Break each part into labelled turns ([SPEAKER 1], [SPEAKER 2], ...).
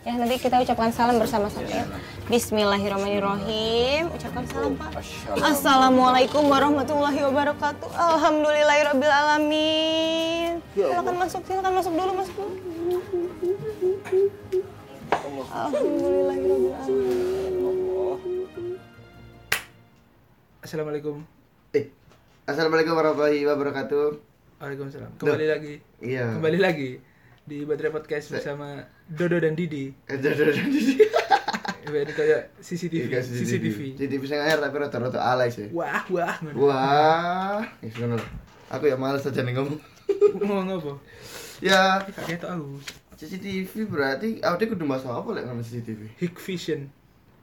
[SPEAKER 1] Ya, nanti kita ucapkan salam bersama-sama ya. Bismillahirrahmanirrahim. Ucapkan salam, Pak. Assalamualaikum warahmatullahi wabarakatuh. Alhamdulillahirabbil alamin. Silakan masuk, silakan masuk dulu, masuk dulu. Alhamdulillahirabbil alamin.
[SPEAKER 2] Assalamualaikum.
[SPEAKER 3] Eh, Assalamualaikum warahmatullahi wabarakatuh.
[SPEAKER 2] Waalaikumsalam. Kembali lagi.
[SPEAKER 3] Iya.
[SPEAKER 2] Kembali lagi di Baterai Podcast bersama Dodo dan Didi.
[SPEAKER 3] Eh, duh, duh, duh, duh.
[SPEAKER 2] Ini kayak CCTV.
[SPEAKER 3] Dikasih CCTV. CCTV saya air tapi rotor-rotor alay sih.
[SPEAKER 2] Wah, wah.
[SPEAKER 3] Wah, ya, sudah, loh. aku ya males aja nih ngomong.
[SPEAKER 2] Ngomong apa?
[SPEAKER 3] ya,
[SPEAKER 2] Kayak itu aku.
[SPEAKER 3] CCTV berarti awalnya kudu masalah apa lek ngono CCTV?
[SPEAKER 2] Hik Vision.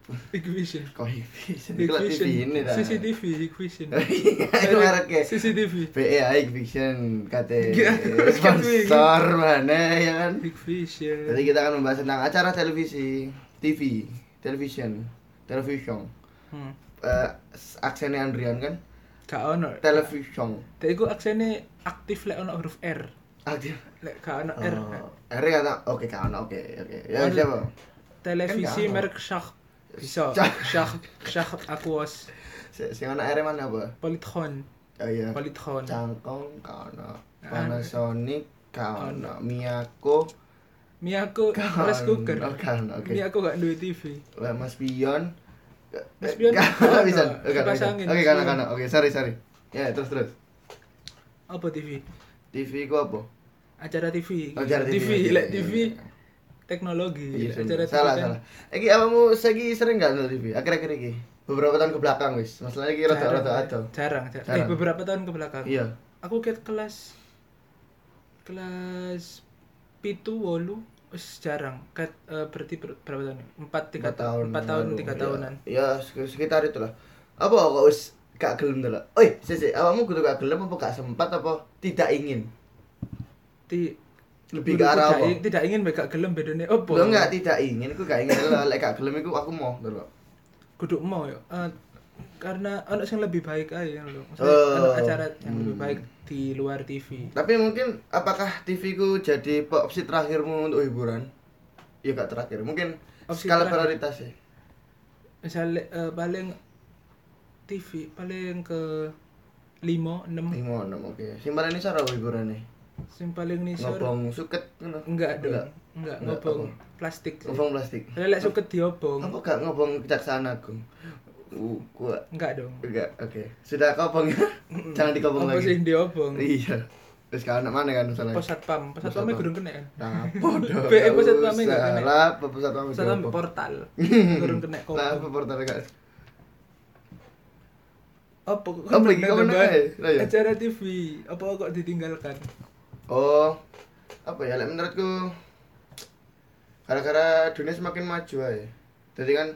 [SPEAKER 2] Hik Vision.
[SPEAKER 3] Kok TV?
[SPEAKER 2] Hik
[SPEAKER 3] Sendiri kalau TV ini dah. ya?
[SPEAKER 2] CCTV, Hik Vision.
[SPEAKER 3] Itu mereknya.
[SPEAKER 2] CCTV.
[SPEAKER 3] PEI Fiction KT
[SPEAKER 2] Gila,
[SPEAKER 3] sponsor mana ya kan?
[SPEAKER 2] Hik
[SPEAKER 3] Nanti
[SPEAKER 2] Vision.
[SPEAKER 3] kita akan membahas tentang acara televisi, TV, television, television.
[SPEAKER 2] Hmm.
[SPEAKER 3] Eh, aksennya Andrian kan?
[SPEAKER 2] Gak ono.
[SPEAKER 3] Television.
[SPEAKER 2] Tapi gue aksennya aktif lek ono huruf R.
[SPEAKER 3] Aktif.
[SPEAKER 2] Lek gak ono R.
[SPEAKER 3] Oh, R kata oke kan oke oke. Ya
[SPEAKER 2] Aduh.
[SPEAKER 3] siapa?
[SPEAKER 2] Televisi
[SPEAKER 3] Kan gak ono.
[SPEAKER 2] merek Shark. Bisa.
[SPEAKER 3] Shark.
[SPEAKER 2] Shark. Shark Aquos.
[SPEAKER 3] Si si ono R mana apa?
[SPEAKER 2] Polithon.
[SPEAKER 3] Oh iya.
[SPEAKER 2] Polithon.
[SPEAKER 3] Cangkong kono.
[SPEAKER 2] Anu.
[SPEAKER 3] Panasonic kono. Miyako
[SPEAKER 2] Miyako
[SPEAKER 3] kono.
[SPEAKER 2] rice cooker.
[SPEAKER 3] Oh, kono, oke.
[SPEAKER 2] Miyako gak duwe TV.
[SPEAKER 3] Lah, Mas Pion.
[SPEAKER 2] Mas Pion
[SPEAKER 3] Kono
[SPEAKER 2] kono.
[SPEAKER 3] bisa. Oh, kono,
[SPEAKER 2] Kipas
[SPEAKER 3] bisa.
[SPEAKER 2] angin,
[SPEAKER 3] Oke
[SPEAKER 2] Mas
[SPEAKER 3] kono
[SPEAKER 2] Pion.
[SPEAKER 3] kono. Oke sorry sorry. Ya terus terus.
[SPEAKER 2] Apa TV?
[SPEAKER 3] TV ku apa?
[SPEAKER 2] Acara TV.
[SPEAKER 3] Oh, acara TV,
[SPEAKER 2] TV,
[SPEAKER 3] iya,
[SPEAKER 2] lek
[SPEAKER 3] iya,
[SPEAKER 2] TV
[SPEAKER 3] iya.
[SPEAKER 2] teknologi. Lek
[SPEAKER 3] Iya,
[SPEAKER 2] acara
[SPEAKER 3] salah
[SPEAKER 2] TV
[SPEAKER 3] salah.
[SPEAKER 2] kan
[SPEAKER 3] salah. Iki apamu segi sering enggak nonton TV? Akhir-akhir iki. Beberapa tahun ke belakang wis. Masalahnya iki
[SPEAKER 2] jarang,
[SPEAKER 3] rada-rada
[SPEAKER 2] Lek.
[SPEAKER 3] ado.
[SPEAKER 2] Jarang, jarang. Eh,
[SPEAKER 3] Jarang.
[SPEAKER 2] beberapa tahun ke belakang.
[SPEAKER 3] Iya.
[SPEAKER 2] Aku kayak kelas kelas pitu wolu wis jarang. Kat, eh, berarti ber- berapa tahun? 4 3
[SPEAKER 3] tiga tahun
[SPEAKER 2] tahun. 4 tahun
[SPEAKER 3] lalu.
[SPEAKER 2] 3 tahunan.
[SPEAKER 3] ya, ya sek- sekitar itulah apa kok wis gak gelem to oi sik sik awakmu kudu gak gelem apa gak sempat apa tidak ingin
[SPEAKER 2] Ti
[SPEAKER 3] lebih ke arah
[SPEAKER 2] tidak,
[SPEAKER 3] apa
[SPEAKER 2] tidak ingin mereka gelem bedone opo.
[SPEAKER 3] lo enggak tidak ingin aku gak ingin lho lek gak gelem iku aku mau lho
[SPEAKER 2] kudu mau ya Eh, karena ono sing lebih baik aja ngono lho.
[SPEAKER 3] Eh.
[SPEAKER 2] Maksudnya ono acara yang lebih
[SPEAKER 3] Hmm.
[SPEAKER 2] baik di luar TV.
[SPEAKER 3] tapi mungkin apakah TV ku jadi pe- opsi terakhirmu untuk hiburan ya gak terakhir mungkin
[SPEAKER 2] Opsi
[SPEAKER 3] skala
[SPEAKER 2] terakhir.
[SPEAKER 3] prioritas ya
[SPEAKER 2] Misalnya eh, paling TV paling ke 5 6
[SPEAKER 3] lima enam oke simpan iya. ini cara hiburan nih
[SPEAKER 2] sing paling nisor
[SPEAKER 3] ngobong suket ngono
[SPEAKER 2] enggak dong. Enggak,
[SPEAKER 3] Enggak,
[SPEAKER 2] ngobong
[SPEAKER 3] apa?
[SPEAKER 2] plastik. sih.
[SPEAKER 3] ngobong plastik
[SPEAKER 2] Soalnya lek suket diobong.
[SPEAKER 3] apa gak ngobong kejaksaan agung uh kuat
[SPEAKER 2] Enggak dong.
[SPEAKER 3] Enggak, oke. Sudah kopong ya? Jangan dikopong
[SPEAKER 2] Apa sih
[SPEAKER 3] lagi.
[SPEAKER 2] yang diobong?
[SPEAKER 3] Iya. Terus kalau anak mana kan masalah?
[SPEAKER 2] Pos satpam, pos
[SPEAKER 3] Pos
[SPEAKER 2] satpamnya
[SPEAKER 3] satpam.
[SPEAKER 2] gurung kena kan.
[SPEAKER 3] Nah, bodoh.
[SPEAKER 2] BE pusat pamit nggak kena?
[SPEAKER 3] Salah, pusat pamit.
[SPEAKER 2] Pos satpam
[SPEAKER 3] diopong.
[SPEAKER 2] portal. Gurung kena kok.
[SPEAKER 3] Nah, apa portal enggak?
[SPEAKER 2] Apa
[SPEAKER 3] Kamu lagi
[SPEAKER 2] nang
[SPEAKER 3] kamu
[SPEAKER 2] depan?
[SPEAKER 3] naik? Lah, ya?
[SPEAKER 2] Acara TV, apa kok ditinggalkan?
[SPEAKER 3] Oh, apa ya? Lek menurutku, gara-gara dunia semakin maju aja. Jadi kan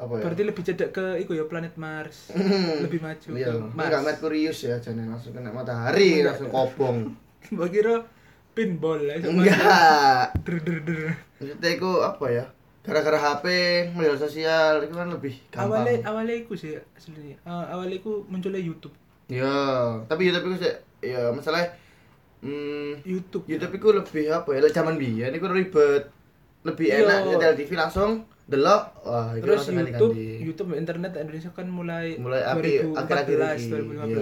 [SPEAKER 3] apa ya?
[SPEAKER 2] Berarti lebih cedek ke iku ya planet Mars. lebih maju Iya.
[SPEAKER 3] Iya,
[SPEAKER 2] ke Mars.
[SPEAKER 3] enggak Merkurius ya, jangan langsung kena matahari,
[SPEAKER 2] Enggak.
[SPEAKER 3] langsung kopong.
[SPEAKER 2] Mbak kira pinball ya. cuma
[SPEAKER 3] Enggak.
[SPEAKER 2] Der der der.
[SPEAKER 3] Maksudnya itu apa ya? Gara-gara HP, media sosial, itu kan lebih gampang.
[SPEAKER 2] Awalnya awalnya iku sih aslinya. Eh, awalnya iku munculnya YouTube.
[SPEAKER 3] Ya, tapi YouTube itu sih, ya masalah hmm,
[SPEAKER 2] YouTube.
[SPEAKER 3] YouTube itu lebih apa ya? Lek Zaman biyen iku ribet. Lebih
[SPEAKER 2] Iya.
[SPEAKER 3] enak nyetel TV langsung delok. Wah, itu
[SPEAKER 2] Terus
[SPEAKER 3] langsung
[SPEAKER 2] YouTube,
[SPEAKER 3] ganti-ganti.
[SPEAKER 2] YouTube internet Indonesia kan mulai
[SPEAKER 3] kan Mulai api akhir-akhir Iya,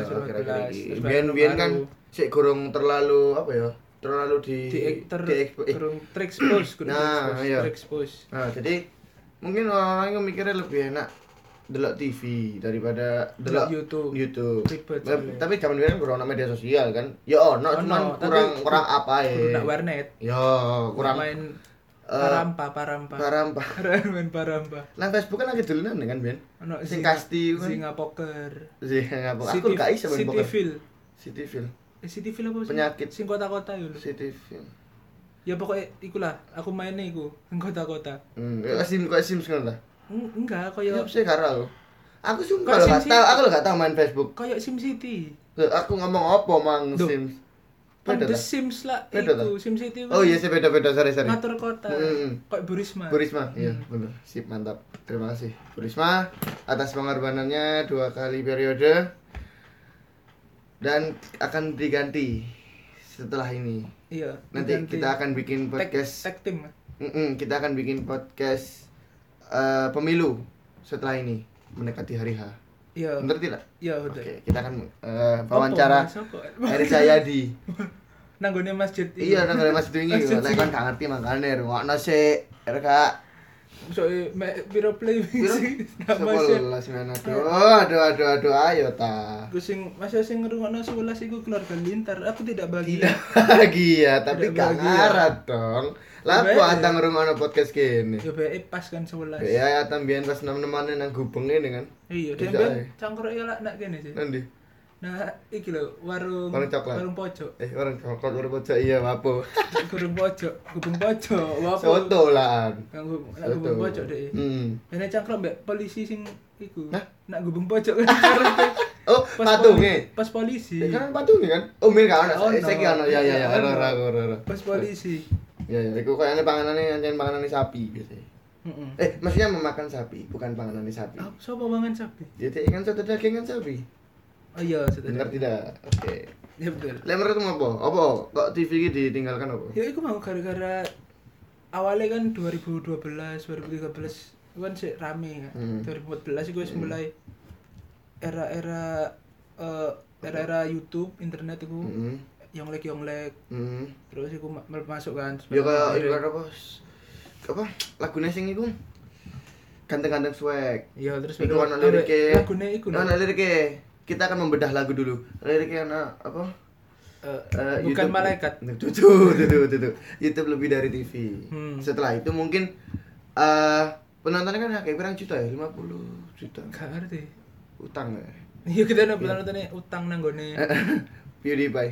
[SPEAKER 2] 2014, 2015, 2014.
[SPEAKER 3] Biyen-biyen kan sik gorong terlalu apa ya? Terlalu di
[SPEAKER 2] di ter
[SPEAKER 3] diekspos- eh,
[SPEAKER 2] kurung terexpose kurung
[SPEAKER 3] Nah,
[SPEAKER 2] terexpose,
[SPEAKER 3] iya.
[SPEAKER 2] terexpose.
[SPEAKER 3] Nah, jadi mungkin orang-orang yang mikirnya lebih enak delok TV daripada
[SPEAKER 2] Delok
[SPEAKER 3] delok
[SPEAKER 2] YouTube.
[SPEAKER 3] YouTube.
[SPEAKER 2] Ribet
[SPEAKER 3] Nah,
[SPEAKER 2] soalnya.
[SPEAKER 3] tapi zaman biyen kurang ana media sosial kan. Ya ono,
[SPEAKER 2] Ono,
[SPEAKER 3] cuman
[SPEAKER 2] Oh, tapi
[SPEAKER 3] kurang kurang apa ya.
[SPEAKER 2] Kurung nak warnet.
[SPEAKER 3] Ya, kurang
[SPEAKER 2] main
[SPEAKER 3] eh,
[SPEAKER 2] parampa parampa.
[SPEAKER 3] parampa.
[SPEAKER 2] main parampa.
[SPEAKER 3] Lah Facebook kan lagi dolanan kan, Ben.
[SPEAKER 2] Ono
[SPEAKER 3] Sing
[SPEAKER 2] Zinga-
[SPEAKER 3] kasti kan.
[SPEAKER 2] Zinga poker.
[SPEAKER 3] Sih, ngapa? Aku
[SPEAKER 2] City-
[SPEAKER 3] gak iso main poker.
[SPEAKER 2] Cityville.
[SPEAKER 3] Cityville.
[SPEAKER 2] Eh, Cityville apa sih?
[SPEAKER 3] Penyakit.
[SPEAKER 2] Sing kota-kota yo lho.
[SPEAKER 3] Cityville.
[SPEAKER 2] Ya pokoknya ikulah, aku mainnya iku, sing kota-kota.
[SPEAKER 3] Hmm, ya sim kok sim ngono lah.
[SPEAKER 2] Eng- Enggak,
[SPEAKER 3] Ya
[SPEAKER 2] kaya
[SPEAKER 3] sih karo aku. Aku sumpah
[SPEAKER 2] Kok
[SPEAKER 3] lho, gak
[SPEAKER 2] SimCity?
[SPEAKER 3] tau, aku lho gak tau main Facebook.
[SPEAKER 2] kaya Sim City.
[SPEAKER 3] Loh, aku ngomong apa mang
[SPEAKER 2] Duh.
[SPEAKER 3] Sims.
[SPEAKER 2] Kan
[SPEAKER 3] Beda
[SPEAKER 2] The
[SPEAKER 3] tak?
[SPEAKER 2] Sims lah
[SPEAKER 3] Beda
[SPEAKER 2] itu, Sim City. kan
[SPEAKER 3] Oh iya sih beda-beda sorry sorry.
[SPEAKER 2] ngatur kota.
[SPEAKER 3] Hmm.
[SPEAKER 2] Kayak Burisma.
[SPEAKER 3] Burisma, iya bener. Sip, mantap. Terima kasih Burisma atas pengorbanannya dua kali periode dan akan diganti setelah ini.
[SPEAKER 2] Iya.
[SPEAKER 3] Nanti kita akan bikin
[SPEAKER 2] podcast
[SPEAKER 3] podcast
[SPEAKER 2] tag, tag team.
[SPEAKER 3] Mm-mm, kita akan bikin podcast eh, pemilu setelah ini mendekati hari H.
[SPEAKER 2] Iya.
[SPEAKER 3] Bener tidak?
[SPEAKER 2] Iya
[SPEAKER 3] Oke,
[SPEAKER 2] udah.
[SPEAKER 3] kita akan eh, wawancara Eri Cahyadi.
[SPEAKER 2] Nanggone masjid.
[SPEAKER 3] iya, nang ada Mas Dwingi.
[SPEAKER 2] Masjid
[SPEAKER 3] Lek kan gak ngerti makane rungokno sik. RK
[SPEAKER 2] Soe me- piro play
[SPEAKER 3] piro?
[SPEAKER 2] sih? Nama sih.
[SPEAKER 3] 11 men. Aduh, aduh, aduh, aduh, ayo ta.
[SPEAKER 2] Aku sing masa sing ngrungokno 11 iku keluarga lintar. Aku tidak bahagia.
[SPEAKER 3] Bahagia, tapi
[SPEAKER 2] Tidak
[SPEAKER 3] gak
[SPEAKER 2] bahagia.
[SPEAKER 3] ngarat dong. Lah
[SPEAKER 2] Baik.
[SPEAKER 3] kok atang ngrungokno podcast kene.
[SPEAKER 2] Ya bae pas kan 11.
[SPEAKER 3] Ya, atang biyen pas nem-nemane nang gubeng ini kan.
[SPEAKER 2] Iya,
[SPEAKER 3] Tidak,
[SPEAKER 2] demben
[SPEAKER 3] eh.
[SPEAKER 2] cangkruk ya lak nak kene sih.
[SPEAKER 3] Nanti.
[SPEAKER 2] Nah, iki lho warung
[SPEAKER 3] Warung coklat.
[SPEAKER 2] warung pojok.
[SPEAKER 3] Eh, orang coklat orang pojok iya apa?
[SPEAKER 2] Gurung pojok, gubeng pojok. Wapo?
[SPEAKER 3] Soto lah.
[SPEAKER 2] Nang gubeng nak
[SPEAKER 3] Soto.
[SPEAKER 2] gubeng pojok deh.
[SPEAKER 3] Hmm.
[SPEAKER 2] Ini cangkruk mbak polisi sing iku.
[SPEAKER 3] Hah?
[SPEAKER 2] Nak gubeng pojok kan cangkruk.
[SPEAKER 3] Oh, patungnya.
[SPEAKER 2] poli- Pas Iya. polisi.
[SPEAKER 3] Ya kan patungnya kan? Oh, mir kan
[SPEAKER 2] Oh,
[SPEAKER 3] ono. Eh, Saya
[SPEAKER 2] no.
[SPEAKER 3] kan ono. Ya ya ya,
[SPEAKER 2] Iya, Ono.
[SPEAKER 3] ora ora ora, ora.
[SPEAKER 2] Pas polisi.
[SPEAKER 3] Ya ya, iku kayaknya panganannya anjen panganannya sapi biasanya.
[SPEAKER 2] Heeh.
[SPEAKER 3] Eh, maksudnya memakan sapi, bukan panganannya sapi.
[SPEAKER 2] Apa sapa mangan sapi?
[SPEAKER 3] Jadi kan satu daging kan sapi.
[SPEAKER 2] Oh iya, saudara.
[SPEAKER 3] Benar tidak? Oke.
[SPEAKER 2] Ya betul.
[SPEAKER 3] Lek menurutmu apa? Apa kok TV ini ditinggalkan apa?
[SPEAKER 2] Ya iku mau gara-gara awalnya kan 2012, 2013 itu kan sih rame ya.
[SPEAKER 3] Hmm.
[SPEAKER 2] 2014 itu wis mulai era-era eh, era-era YouTube, internet itu
[SPEAKER 3] Heeh.
[SPEAKER 2] yang lek yang lek
[SPEAKER 3] Heeh.
[SPEAKER 2] terus iku ma- masuk kan.
[SPEAKER 3] Hmm. Ya kayak itu kan apa? Apa? Lagunya sing iku ganteng-ganteng swag.
[SPEAKER 2] Iya, terus
[SPEAKER 3] Itu
[SPEAKER 2] baru-
[SPEAKER 3] anak liriknya
[SPEAKER 2] lagune iku lho.
[SPEAKER 3] Anak liriknya Kita akan membedah lagu dulu Liriknya anak apa?
[SPEAKER 2] Eh,
[SPEAKER 3] Eh,
[SPEAKER 2] bukan malaikat.
[SPEAKER 3] Tuh, tuh, tuh, tuh, tuh, tuh. YouTube lebih dari TV
[SPEAKER 2] Hmm.
[SPEAKER 3] Setelah itu mungkin eh Penontonnya kan kayak kurang juta ya 50 juta
[SPEAKER 2] Gak ngerti.
[SPEAKER 3] Utang ya
[SPEAKER 2] Iya kita udah bilang tadi utang nang
[SPEAKER 3] Eh,
[SPEAKER 2] gone.
[SPEAKER 3] PewDiePie